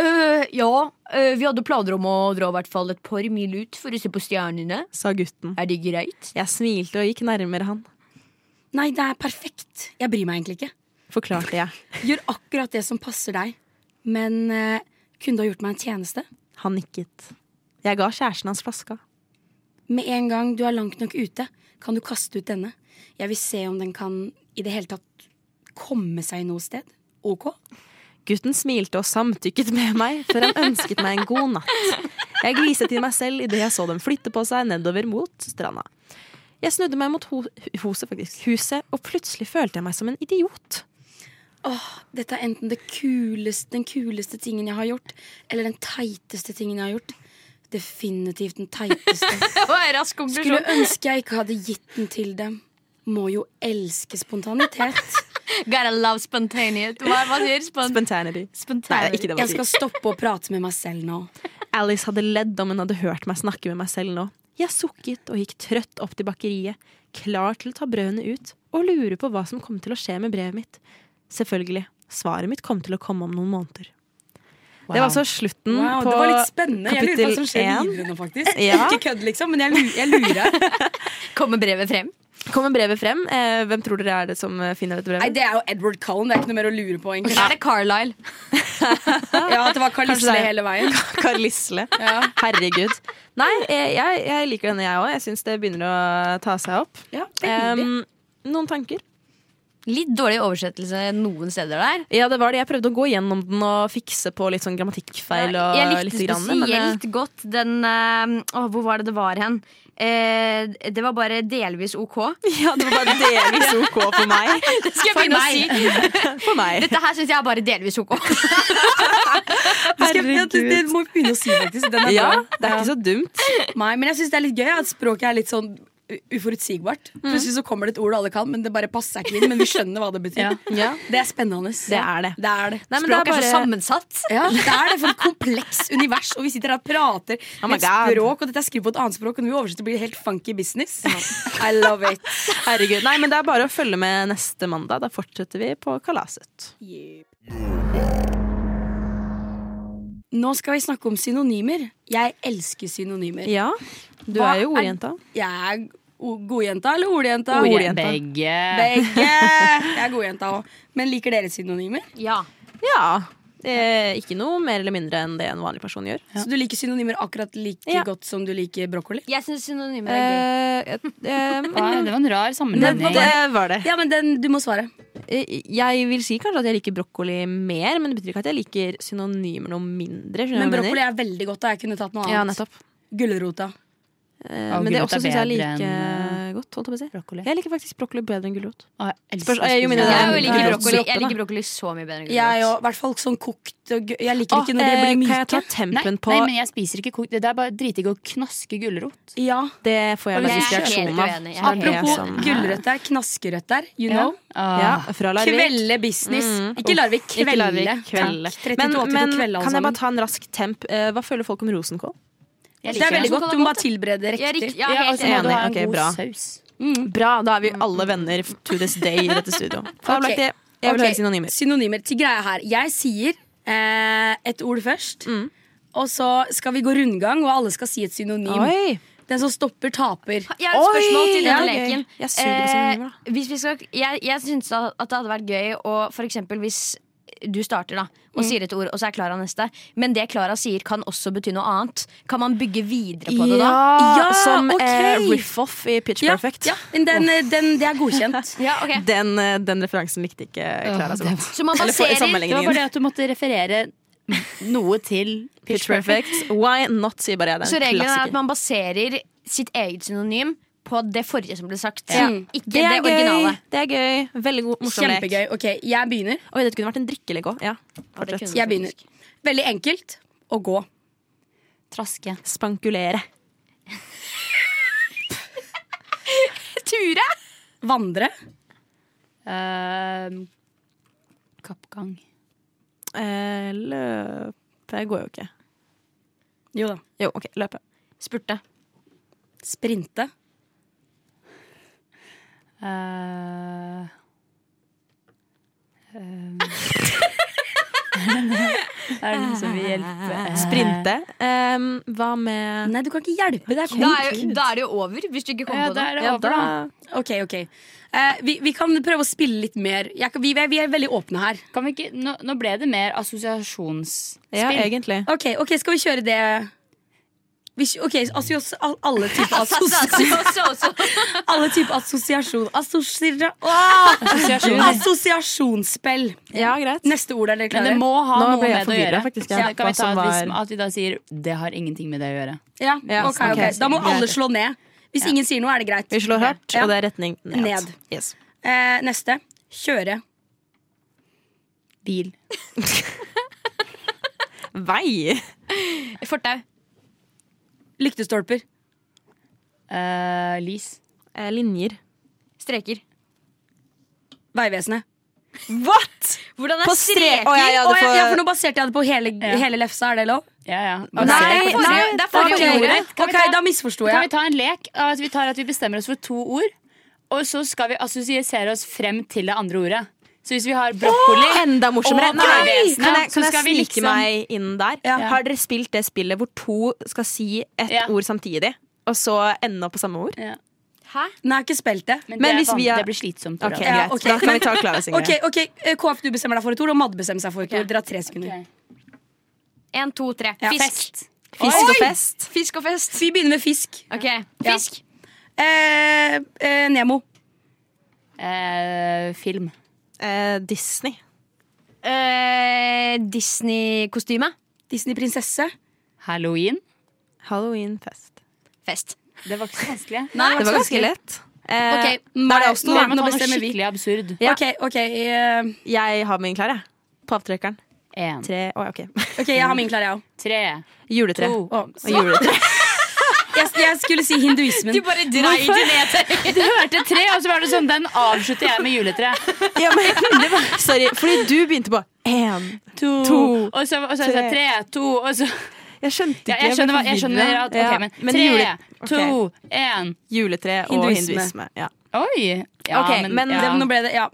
S8: Øh, ja, øh, vi hadde planer om å dra i hvert fall et par mil ut for å se på stjernene.
S6: Sa gutten.
S8: Er det greit?
S6: Jeg smilte og gikk nærmere han,
S5: Nei, det er perfekt. Jeg bryr meg egentlig ikke.
S6: forklarte jeg.
S5: Gjør akkurat det som passer deg. Men eh, kunne du ha gjort meg en tjeneste?
S6: Han nikket. Jeg ga kjæresten hans flaska.
S5: Med en gang du er langt nok ute, kan du kaste ut denne. Jeg vil se om den kan i det hele tatt komme seg noe sted. OK?
S6: Gutten smilte og samtykket med meg før han ønsket meg en god natt. Jeg gliset til meg selv idet jeg så dem flytte på seg nedover mot stranda. Jeg snudde meg mot ho huset, faktisk, huset, og plutselig følte jeg meg som en idiot.
S5: åh, dette er enten det kuleste, den kuleste tingen jeg har gjort, eller den teiteste tingen jeg har gjort. Definitivt den teiteste.
S8: Det var en rask konklusjon.
S5: Skulle ønske jeg ikke hadde gitt den til dem. Må jo elske spontanitet.
S8: Gotta love spontaneous. Hva, hva sier spon
S6: Spontanity. Nei, det er ikke det man
S5: Jeg
S6: sier.
S5: skal stoppe å prate med meg selv nå.
S6: Alice hadde ledd om hun hadde hørt meg snakke med meg selv nå. Jeg sukket og gikk trøtt opp til bakeriet, klar til å ta brødene ut og lure på hva som kom til å skje med brevet mitt. Selvfølgelig, svaret mitt kom til å komme om noen måneder. Det var altså slutten
S5: Wow,
S6: på
S5: det var litt spennende. Jeg lurer på hva
S6: kapittel
S5: som skjer
S6: én.
S5: videre nå, faktisk.
S6: Ja.
S5: Ikke kødd, liksom, men jeg lurer. Jeg lurer.
S8: Kommer brevet frem?
S6: Kommer brevet frem? Eh, hvem tror dere er det som eh, finner dette brevet?
S5: Nei, det er jo Edward Cullen. Det er ikke noe mer å lure på, egentlig.
S8: Eller er det Carlisle?
S5: Ja, at det var
S6: Kanskje det
S5: Karlisle
S6: er-
S5: hele veien.
S6: Kar Lisle. Herregud. Nei, eh, jeg, jeg liker denne, jeg òg. Jeg syns det begynner å ta seg opp.
S5: Ja, veldig.
S6: Em, noen tanker?
S8: Litt dårlig oversettelse noen steder der.
S6: Ja, det var det. Jeg prøvde å gå gjennom den og fikse på litt sånn grammatikkfeil. Og
S8: jeg likte
S6: litt grann, men, eh,
S8: spesielt godt den eh, Å, hvor var det det var hen? Eh, det var bare delvis OK.
S6: Ja, det var bare delvis OK for meg.
S8: Det skal jeg begynne å si.
S6: For meg.
S8: Dette her syns jeg er bare delvis OK.
S5: Herregud. Det må vi begynne å si, faktisk. Den er
S6: Ja,
S5: bra.
S6: det er ikke så dumt.
S5: Nei, men jeg syns det er litt gøy at språket er litt sånn u- uforutsigbart. Plutselig så kommer det et ord alle kan, men det bare passer seg ikke inn. Men vi skjønner hva det betyr.
S7: Ja.
S6: Ja.
S5: Det er spennende.
S6: Det er det.
S5: Det er det.
S6: Nei, men det er
S8: Språket er så
S6: bare-
S8: sammensatt.
S5: Ja, det er det for et kompleks univers, og vi sitter her og prater
S6: Oh my
S5: med et
S6: God.
S5: språk, og dette er skrevet på et annet språk, og når vi oversetter blir det helt funky business. I love it.
S6: Herregud. Nei, men det er bare å følge med neste mandag. Da fortsetter vi på kalaset.
S5: Nå skal vi snakke om synonymer. Jeg elsker synonymer.
S6: Ja, du
S5: Hva
S6: er jo Oh,
S5: er-
S6: ordjenta.
S5: Jeg er o- godjenta eller ordjenta?
S6: Ordjenta.
S7: Begge.
S5: Begge. Jeg er godjenta òg. Men liker dere synonymer?
S8: Ja.
S6: Ja. Eh, ikke noe mer eller mindre enn det en vanlig person gjør.
S5: Så du liker synonymer akkurat like
S6: Ja.
S5: godt som du liker brokkoli?
S8: Jeg syns synonymer er gøy.
S6: Eh, eh,
S7: Hva, det var en rar
S6: det,
S7: sammenligning.
S6: det var det.
S5: Ja, men den, du må svare.
S6: Eh, Jeg vil si kanskje at jeg liker brokkoli mer, men det betyr ikke at jeg liker synonymer noe mindre. skjønner
S5: Men
S6: du hva jeg
S5: brokkoli
S6: mener?
S5: er veldig godt. Da. Jeg kunne tatt noe
S6: Ja,
S5: annet.
S6: nettopp.
S5: Gulrota.
S6: Eh,
S7: Og
S6: men det
S7: gulrot
S6: også
S7: er
S6: syns jeg
S7: bedre
S6: liker
S7: enn,
S6: godt. Holdt jeg, på å si.
S7: brokkoli.
S6: jeg liker faktisk brokkoli bedre enn gulrot.
S7: Å, jeg elsker
S6: Spørs- eh, jo,
S7: å
S6: men
S7: spise
S6: det er-
S8: Jeg
S7: brokkoli.
S6: det er
S8: liker brokkoli,
S6: også
S8: jeg
S6: da.
S8: liker brokkoli så mye bedre enn
S5: Jeg
S8: gulrot.
S5: òg. I hvert fall sånn kokt. og gu- Jeg liker ikke når det
S6: Eh,
S5: blir
S6: kan jeg ta
S5: myke.
S7: Nei,
S6: tempen på
S7: nei, men jeg spiser ikke kokt. Det er bare dritdigg å knaske gulrot.
S5: Ja.
S6: Det får jeg
S5: Og
S6: faktisk
S5: jeg er
S8: helt
S6: reaksjon av.
S8: uenig. Jeg er
S6: Så det er det
S5: Apropos
S6: som er-
S5: gulrøtter, knaskerøtter. You know.
S6: Ja,
S7: Ah.
S6: fra Larvik.
S5: Kvelde business. Mm. Ikke Larvik,
S6: Ikke
S5: kvelde.
S6: Larvik, kvelde.
S5: Takk. 32
S6: Men,
S5: til
S6: men
S5: kvelde, alle
S6: kan jeg bare
S5: sammen.
S6: ta en rask temp? Eh, Hva føler folk om rosenkål?
S7: Jeg
S5: sånn. Det er
S7: liker
S5: veldig
S7: det.
S5: godt. Du må bare tilberede
S8: Jeg er
S5: riktig.
S8: rikt- ja,
S7: Ja, og
S8: helt
S7: så må
S8: enig.
S7: du ha en
S6: Ok,
S7: god
S6: bra.
S7: saus.
S6: Bra, da er vi alle venner f- to this day i dette studioet.
S5: Ok.
S6: Jeg vil
S5: Ok,
S6: høre synonymer.
S5: Synonymer til greia her. Jeg sier eh, et ord først. Og så skal vi gå rundgang, og alle skal si et synonym.
S6: Oi!
S5: Den som stopper, taper.
S8: Jeg har et
S6: Oi,
S8: spørsmål til
S6: ja,
S8: denne
S6: gøy.
S8: leken. Eh,
S6: Jeg suger på synonymer, da.
S8: hvis vi skal, jeg, jeg syns da at det hadde vært gøy å for eksempel hvis du starter da
S6: Mm.
S8: og sier et ord, og så er Klara neste. Men det Klara sier, kan også bety noe annet. Kan man bygge videre på det da?
S5: Ja,
S6: som
S5: ok.
S6: eh, riff-off i Pitch
S5: Ja,
S6: Perfect.
S5: ja, men den, den, det er godkjent.
S8: Ja, ok.
S6: Den, eh, den referansen likte ikke Klara så
S7: det
S6: godt.
S8: Så man
S6: Eller for- i
S8: baserer
S7: Det var
S6: sammenligningen.
S7: bare det at du måtte referere noe til
S6: Pitch Perfect. Why not, sier bare jeg. Det
S8: Så
S6: er en
S8: regelen er at
S6: klassiker.
S8: man baserer sitt eget synonym på det forrige som ble sagt.
S5: Ja.
S8: Ikke
S6: Det
S8: det,
S6: er
S8: originale.
S6: gøy. Det er gøy. Veldig god, morsom lek.
S5: Kjempegøy. Ok, jeg begynner.
S6: Oi, dette kunne vært en drikkelek òg. Ja.
S8: det
S6: fortsett.
S8: kunne
S5: Jeg begynner. Veldig enkelt å gå.
S7: Traske.
S6: Spankulere.
S8: Ture!
S5: Vandre.
S7: Ehm, kappgang.
S6: Eh, løpe går jo ikke.
S5: Jo da.
S6: Jo, OK. Løpe.
S8: Spurte.
S5: Sprinte.
S7: Eh, ehm. er det noe som vil hjelpe?
S6: Eh, Sprinte. Em, hva med
S5: Nei, du kan ikke hjelpe. Det er
S8: Da er, jo,
S5: konkret.
S8: da er det jo over, hvis du ikke kommer
S7: Ja,
S8: på
S7: da
S8: det.
S7: er det
S6: Ja,
S7: over, da.
S6: da-
S5: Ok, ok. Eh, vi, vi kan prøve å spille litt mer. Jeg, kan- vi, vi er veldig åpne her.
S7: Kan vi ikke, nå, nå ble det mer assosiasjonsspill.
S6: Ja, egentlig.
S5: Ok, ok, skal vi kjøre det? Vi, kj- ok, assosias, al- alle typer assosiasjon.
S8: Så, så, så.
S5: Alle typer assosiasjon. Assosiasjon.
S7: Assosiasjoner.
S5: Assosiasjonsspill.
S6: Ja, greit.
S5: Neste ord er dere
S7: Men det
S5: klare?
S7: må ha
S6: Nå
S7: noe
S6: ble
S7: med
S6: jeg
S7: det å
S6: forvirret,
S7: gjøre.
S6: faktisk,
S7: Så
S6: ja.
S7: da kan
S6: Hva
S7: vi ta
S6: som
S7: at, hvis,
S6: var-
S7: at vi da sier 'det har ingenting med det å gjøre'.
S5: Ja,
S6: Ja,
S5: ok, ok.
S6: ok.
S5: Da må alle slå ned. Hvis ingen sier noe, er det greit. Eh,
S6: Vi slår hardt,
S5: Ja.
S6: og det er retning ned.
S5: Ned.
S6: Yes.
S5: Eh, neste. Kjøre.
S7: Bil.
S6: Vei!
S8: Fortau.
S5: Lyktestolper.
S7: Eh, lys.
S6: Eh, linjer.
S8: Streker.
S5: Vegvesenet.
S6: What?!
S8: Hvordan
S6: På
S8: er
S6: strek-
S8: streker?
S6: Å, ja, ja,
S5: Å,
S6: det
S5: ja,
S6: får-
S5: ja, for nå baserte jeg det på hele, hele lefsa. Er det lov?
S7: Ja, ja.
S8: Nei, det er forrige- det er forrige
S5: ok.
S8: ordet.
S7: Kan vi
S5: Ok,
S7: ta-
S5: da misforsto
S7: Kan vi
S5: jeg.
S7: ta en lek? At vi, tar at vi bestemmer oss for to ord, og så skal vi assosiere oss frem til det andre ordet. Så hvis vi har brokkoli
S6: Enda morsommere.
S7: Og
S6: Nei,
S7: Vegvesenet,
S6: kan jeg,
S7: så
S6: kan jeg
S7: skal vi
S6: snike
S7: liksom-
S6: meg inn der?
S5: Ja.
S6: Har dere spilt det spillet hvor to skal si ett
S7: Ja.
S6: ord samtidig, og så ende opp på samme ord?
S7: ja.
S8: Hæ?
S5: Nei, jeg har ikke spilt det.
S7: Men,
S6: Men
S7: det, er
S6: hvis vi
S7: van-
S6: har-
S7: det blir slitsomt.
S6: Ok,
S7: Okay.
S5: Ja,
S6: greit.
S5: ok.
S6: Da kan vi ta Klara sin
S5: Ok,
S6: greie.
S5: ok, eh, KF, du bestemmer deg for et ord, og Madde bestemmer seg for et ord. Dere har tre sekunder.
S8: En, to, tre.
S5: Ja.
S8: Fisk.
S6: Fisk og fest.
S8: Fisk og fest.
S5: Vi begynner med fisk.
S8: Ok, Fisk.
S5: Eh, eh, Nemo.
S7: Eh, film.
S6: Eh, Disney.
S8: Eh, Disney-kostyme.
S5: Disney-prinsesse.
S7: Halloween.
S6: Halloween-fest.
S8: Fest.
S7: Det var ikke så vanskelig.
S6: Det var ganske lett. Eh,
S5: Ok,
S7: Nei,
S5: er det oss
S7: nå,
S5: nå?
S7: må
S5: Nå
S7: ta noe
S5: bestemmer vi.
S7: skikkelig absurd.
S6: Ja.
S5: Ok, ok, eh,
S6: Jeg har min klar, jeg. På avtrekkeren.
S7: En,
S6: Tre Å, ja, ok.
S5: ok, jeg har min klar, jeg òg.
S7: tre,
S6: Juletre.
S7: to
S5: Å,
S6: Og juletre.
S5: Jeg, jeg skulle si hinduismen.
S8: bare dreier til det.
S7: Du hørte tre, og så var det sånn Den avslutter jeg med juletre.
S6: Ja, men, det var, sorry, fordi du begynte på én.
S7: To,
S6: To.
S7: og så, og så, så
S6: Tre.
S7: tre, to, og så
S6: Jeg skjønte ikke.
S7: ja, Jeg
S6: ble
S7: skjønner, hva- jeg
S6: forvirret.
S7: skjønner at
S6: Ja,
S7: Ok, men, tre,
S6: jule- ok,
S7: to, én.
S6: Juletre og
S5: Hinduisme.
S6: hinduisme. ja.
S7: Oi! Ja,
S6: Ok, men
S7: ja.
S5: Det, nå ble det, ja,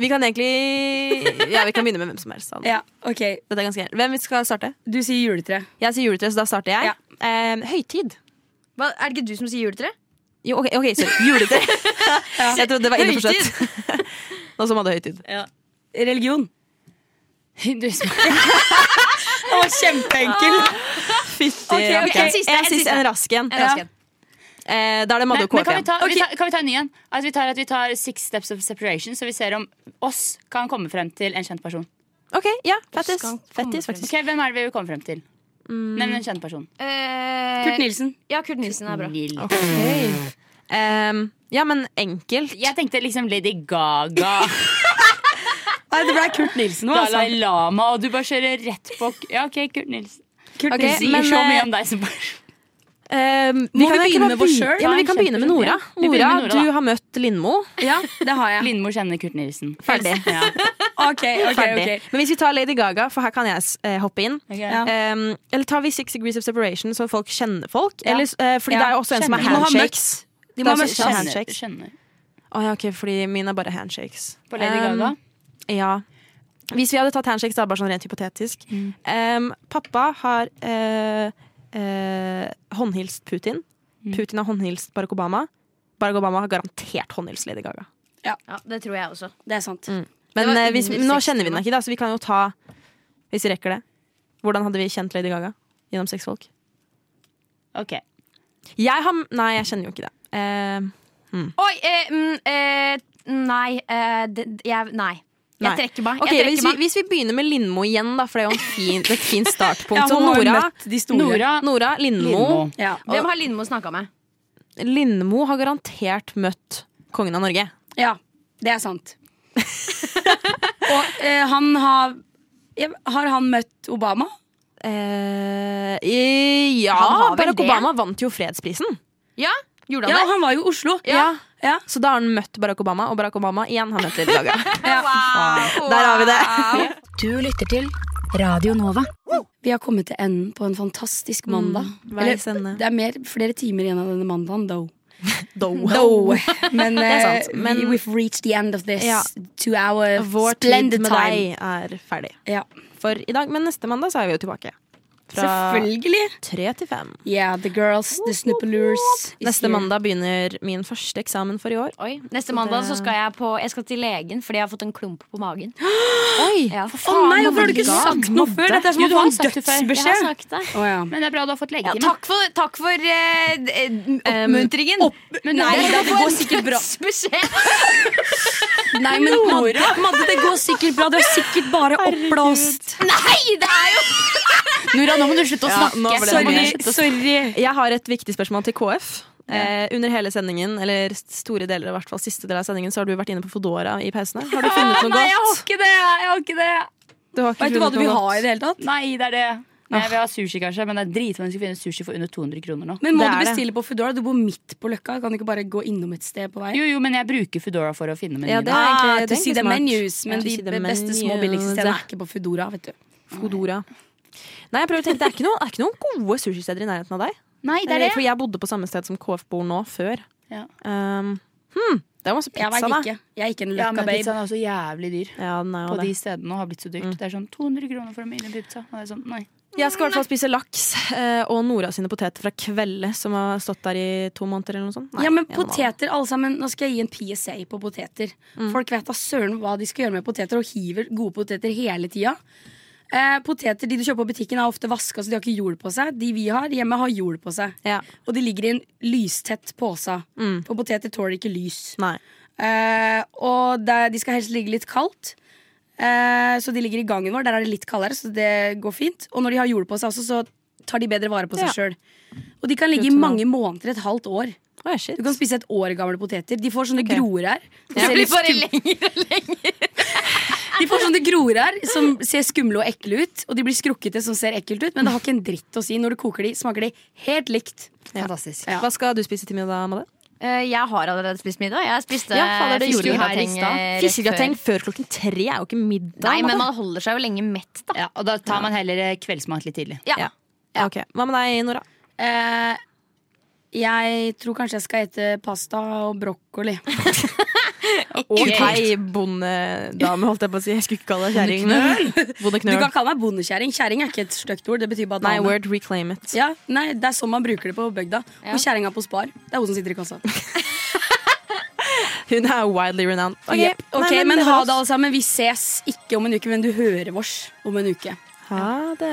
S6: Vi kan egentlig Ja, vi kan begynne med hvem som helst. Anne.
S5: ja, ok.
S6: Dette er ganske greit. Hvem skal starte?
S5: Du sier juletre.
S6: Jeg sier juletre, så da starter jeg. Eh, høytid.
S8: Hva, er det ikke du som sier juletre?
S6: Jo, ok, ok, sorry. Juletre. Jeg trodde det var innforstått. Nå som hadde høytid.
S5: Religion.
S7: Hinduisme.
S5: Å, kjempeenkel!
S6: Fytti
S5: Ok, ok,
S6: rakkeren.
S5: en
S8: siste,
S6: En
S8: en
S6: siste,
S8: siste.
S6: en rask en.
S8: rask en.
S6: Eh, da er det
S7: Nei,
S6: Madde og
S7: men
S6: KF
S7: kan, vi
S6: igjen.
S7: ta, vi tar, kan vi ta en ny en? At vi tar, at vi tar Six Steps of Separation, så vi ser om oss kan komme frem til en kjent person.
S6: Ok, ja, fettis.
S8: Skal han komme
S6: Fettis, faktisk.
S7: Ok, Hvem er det vi vil komme frem til?
S6: Mm.
S7: Nevn en kjent person.
S8: Eh,
S5: Kurt Nilsen.
S8: Ja, Kurt Nilsen er bra.
S7: Lil.
S6: Ehm, ja, men enkelt.
S7: Jeg tenkte liksom Lady Gaga,
S5: Nei, det ble Kurt Nilsen nå, altså.
S7: Dalai Lama, og du bare kjører rett på Ja, OK, Kurt Nilsen.
S5: Kurt
S6: Ok,
S5: Nilsen.
S7: Sier
S6: men,
S7: så mye
S6: eh,
S7: om deg som person.
S6: Ehm,
S5: Må vi
S6: kan egentlig
S5: begynne
S6: bare
S5: med oss
S6: begyn-
S5: selv?
S6: Ja, men vi
S7: Ja,
S6: kan begynne med
S7: kjempefint.
S6: Nora.
S7: Ja, vi begynner med
S6: Nora,
S7: Nora,
S6: du
S7: da.
S6: har møtt Lindmo.
S5: Ja, det har jeg.
S7: Lindmo kjenner Kurt Nilsen.
S6: Ferdig.
S7: Ja.
S5: Ok, ok,
S6: Ferdig.
S5: ok.
S6: Men hvis vi tar Lady Gaga, for her kan jeg eh, hoppe inn.
S5: Ja.
S6: Ehm, eller tar vi Six Degrees of Separation, så folk kjenner folk? Eller, eh,
S5: Ja.
S6: fordi det er jo også en som er
S5: Kjenner. De må ha
S6: handshakes.
S5: De må ha
S6: Det er
S5: møtt
S6: også-
S5: oss.
S7: Skjønner,
S6: handshakes.
S7: skjønner.
S6: Å ja, ok, fordi mine er bare handshakes.
S7: På Lady
S6: Ehm,
S7: Gaga.
S6: Ja. Hvis vi hadde tatt handshakes, da, bare sånn rent hypotetisk
S8: Mm.
S6: Ehm, Pappa har eh, eh, håndhilst Putin.
S8: Mm.
S6: Putin har håndhilst Barack Obama. Barack Obama har garantert håndhilst Lady Gaga.
S8: Ja, Det tror jeg også.
S5: Det er sant.
S6: Men
S8: Det var
S6: eh, hvis,
S8: under
S6: nå
S8: 60
S6: kjenner vi den
S8: nå.
S6: ikke, da, så vi kan jo ta Hvis vi rekker det. Hvordan hadde vi kjent Lady Gaga gjennom sexfolk?
S7: Ok.
S6: Jeg har Nei, jeg kjenner jo ikke det. Eh,
S8: Oi! Eh, mm, eh, nei, eh, det, jeg, nei.
S6: Nei.
S8: Jeg trekker meg.
S6: ok,
S8: jeg
S6: hvis
S8: trekker
S6: vi,
S8: meg.
S6: hvis vi begynner med Lindmo igjen, da, for det er jo en fin, et fint startpunkt.
S5: Ja,
S6: så
S5: hun har jo
S6: Nora,
S5: møtt de store.
S7: Nora
S6: Nora Lindmo,
S7: Lindmo.
S5: Ja.
S8: Hvem har Lindmo snakka med?
S6: Lindmo har garantert møtt kongen av Norge.
S5: Ja, det er sant. og eh, han har ja, Har han møtt Obama?
S6: Eh, i- ja,
S8: Han har vel
S6: Barack
S8: det?
S6: Obama vant jo fredsprisen.
S8: Ja, gjorde
S5: Ja,
S8: han det?
S5: han var jo i Oslo.
S6: Ja.
S5: Ja.
S6: Så da har han møtt Barack Obama, og Barack Obama igjen har møtt Lady Gaga.
S8: Wow.
S6: Der har vi det.
S1: Du lytter til Radio Nova.
S5: Vi har kommet til enden på en fantastisk mandag.
S6: hver sende.
S5: det er mer, flere timer igjen av denne mandagen, though.
S6: Doe.
S5: Though. Men, eh,
S6: sant, men-
S5: we, we've reached the end of this
S6: Ja.
S5: to our
S6: Vår tid
S5: splendid
S6: med
S5: time.
S6: deg er ferdig
S5: Ja.
S6: for i dag, men neste mandag så er vi jo tilbake. Fra
S5: Selvfølgelig.
S6: tre til fem.
S5: Yeah, the girls, the snippelures. is
S6: Neste
S5: here.
S6: mandag begynner min første eksamen for i år.
S8: Oi. Neste mandag så skal jeg, på, jeg skal til legen fordi jeg har fått en klump på magen.
S6: Oi!
S8: Ja.
S5: Å nei, hvorfor har du ikke sagt noe før? Dette er som
S7: Jo,
S5: å
S7: du
S5: få
S7: har
S5: en
S7: sagt det før. Jeg har
S8: Jeg har
S5: dødsbeskjed.
S8: sagt det.
S5: Å ja.
S7: Men det er bra du har fått
S8: Ja,
S7: legetime.
S8: takk for, takk for eh, d- eh, oppmuntringen.
S7: Men
S5: Nei,
S7: det-
S5: det går sikkert bra.
S8: Dødsbeskjed.
S5: Nei, men Madde, Madde, det går sikkert bra. Du er sikkert bare oppblåst.
S8: Nei, det er jo
S7: Nora, nå må du slutte å
S6: Ja,
S7: snakke.
S6: nå ble det
S7: Sorry.
S6: mye.
S5: sorry.
S6: Jeg har et viktig spørsmål til KF. Eh, under hele sendingen, eller store deler, i hvert fall siste del av sendingen, så har du vært inne på Fodora i pausene. Har du funnet noe
S7: Nei, jeg har
S6: godt?
S7: ikke det. Jeg har ikke det.
S6: Det var ikke
S5: Veit du hva
S6: funnet
S5: du
S6: noe
S5: vil
S6: godt.
S5: ha i det hele tatt?
S7: Nei, det er det. Nei, jeg vil ha sushi, kanskje, men det er dritvanskelig å finne sushi for under 200 kroner nå.
S5: Men må
S6: Det
S5: du
S6: er det.
S5: bestille på Foodora? Du bor midt på Løkka. Kan du ikke bare gå innom et sted på vei?
S7: Jo, jo, men jeg bruker Foodora for å finne
S6: Ja,
S7: menyene.
S6: det er egentlig-
S5: Ah,
S6: det er
S5: to see
S6: egentlig
S5: the
S6: smart.
S5: menus, men
S6: Ja.
S5: de
S6: To see the
S5: beste små
S6: menus.
S5: billigste stedene er ikke på Foodora, vet du.
S6: Fodora. Nei, jeg prøver å tenke, det er ikke, noe, det er ikke noen gode sushisteder i nærheten av deg.
S7: Nei, det er
S6: Eh, For
S7: det.
S6: jeg bodde på samme sted som KF bor nå, før.
S7: Ja.
S6: Um, hmm, det er masse
S5: Jeg
S6: pizza,
S5: veit
S6: da.
S5: ikke. Jeg er ikke en
S7: Ja, men
S5: Løkka babe.
S7: pizzaen er også jævlig dyr.
S6: Ja, den er jo
S7: På de
S6: det.
S7: stedene og har blitt så dyrt. Det er sånn 200 kroner for en mild pizza. Og det er sånn, nei.
S6: Jeg skal i hvert fall spise laks eh, og Nora sine poteter fra Kvelde, som har stått der i to måneder eller noe sånt. Nei,
S5: Ja, men
S6: en og en halv. Mm.
S5: poteter, alle sammen. Nå skal jeg gi en PSA på poteter. Folk vet da søren hva de skal gjøre med poteter, og hiver gode poteter hele tida. Eh, poteter de du kjøper på butikken, er ofte vaska, så de har ikke jord på seg. De vi har hjemme, har jord på seg.
S6: Ja. Mm.
S5: Og de ligger i en lystett pose. For poteter tåler ikke lys.
S6: Nei.
S5: Eh, og det, de skal helst ligge litt kaldt. Eh, så de ligger i gangen vår. Der er det litt kaldere, så det går fint. Og når de har jord på seg også, så tar de bedre vare på seg
S6: Ja.
S5: selv Og de kan ligge i
S6: Good to
S5: mange måneder, et halvt år.
S6: Åh, shit.
S5: Du kan spise et år gamle poteter. De får sånne
S6: Ok.
S5: groer her. som
S6: Ja.
S5: ser litt skum-
S8: lenger og lenger.
S5: de får sånne groer her som ser skumle og ekle ut. Og de blir skrukkete som ser ekkelt ut, men det har ikke en dritt å si. Når du koker de, smaker de helt likt.
S7: Fantastisk.
S5: Ja.
S6: Hva skal du spise til middag, Madde?
S8: Eh, jeg har allerede spist middag. Jeg spiste
S6: Ja, fader, det gjorde du
S7: her i
S8: fiskegrateng,
S7: stad.
S8: eh, rett
S6: Fiskegrateng
S8: før.
S6: før klokken tre er jo ikke middag.
S8: Nei,
S6: Madde.
S8: men man holder seg jo lenge mett, da.
S7: Ja, og da tar man heller eh, kveldsmat litt tidlig.
S8: Ja.
S6: Ja. Ja, ok. Hva med deg, Nora?
S5: Eh, jeg tror kanskje jeg skal ete pasta og brokkoli.
S6: Ok, bondedame, holdt jeg på å si. Jeg skulle ikke kalle deg kjerring. men-
S5: Du
S6: Bondeknøl.
S5: kan kalle meg bondekjerring. Kjerring er ikke et stygt ord. Det betyr bare
S6: Nei,
S5: dame.
S6: word reclaim it.
S5: ja, nei, det er sånn man bruker det på bygda. Og kjerringa på Spar. Det er hun som sitter i kassa.
S6: Hun er widely renowned. Ok,
S5: Jep. Ok,
S6: Nei,
S5: men
S6: det
S5: ha
S6: var
S5: det,
S6: oss.
S5: alle sammen. Vi ses ikke om en uke, men du hører vårs om en uke.
S6: Ha det.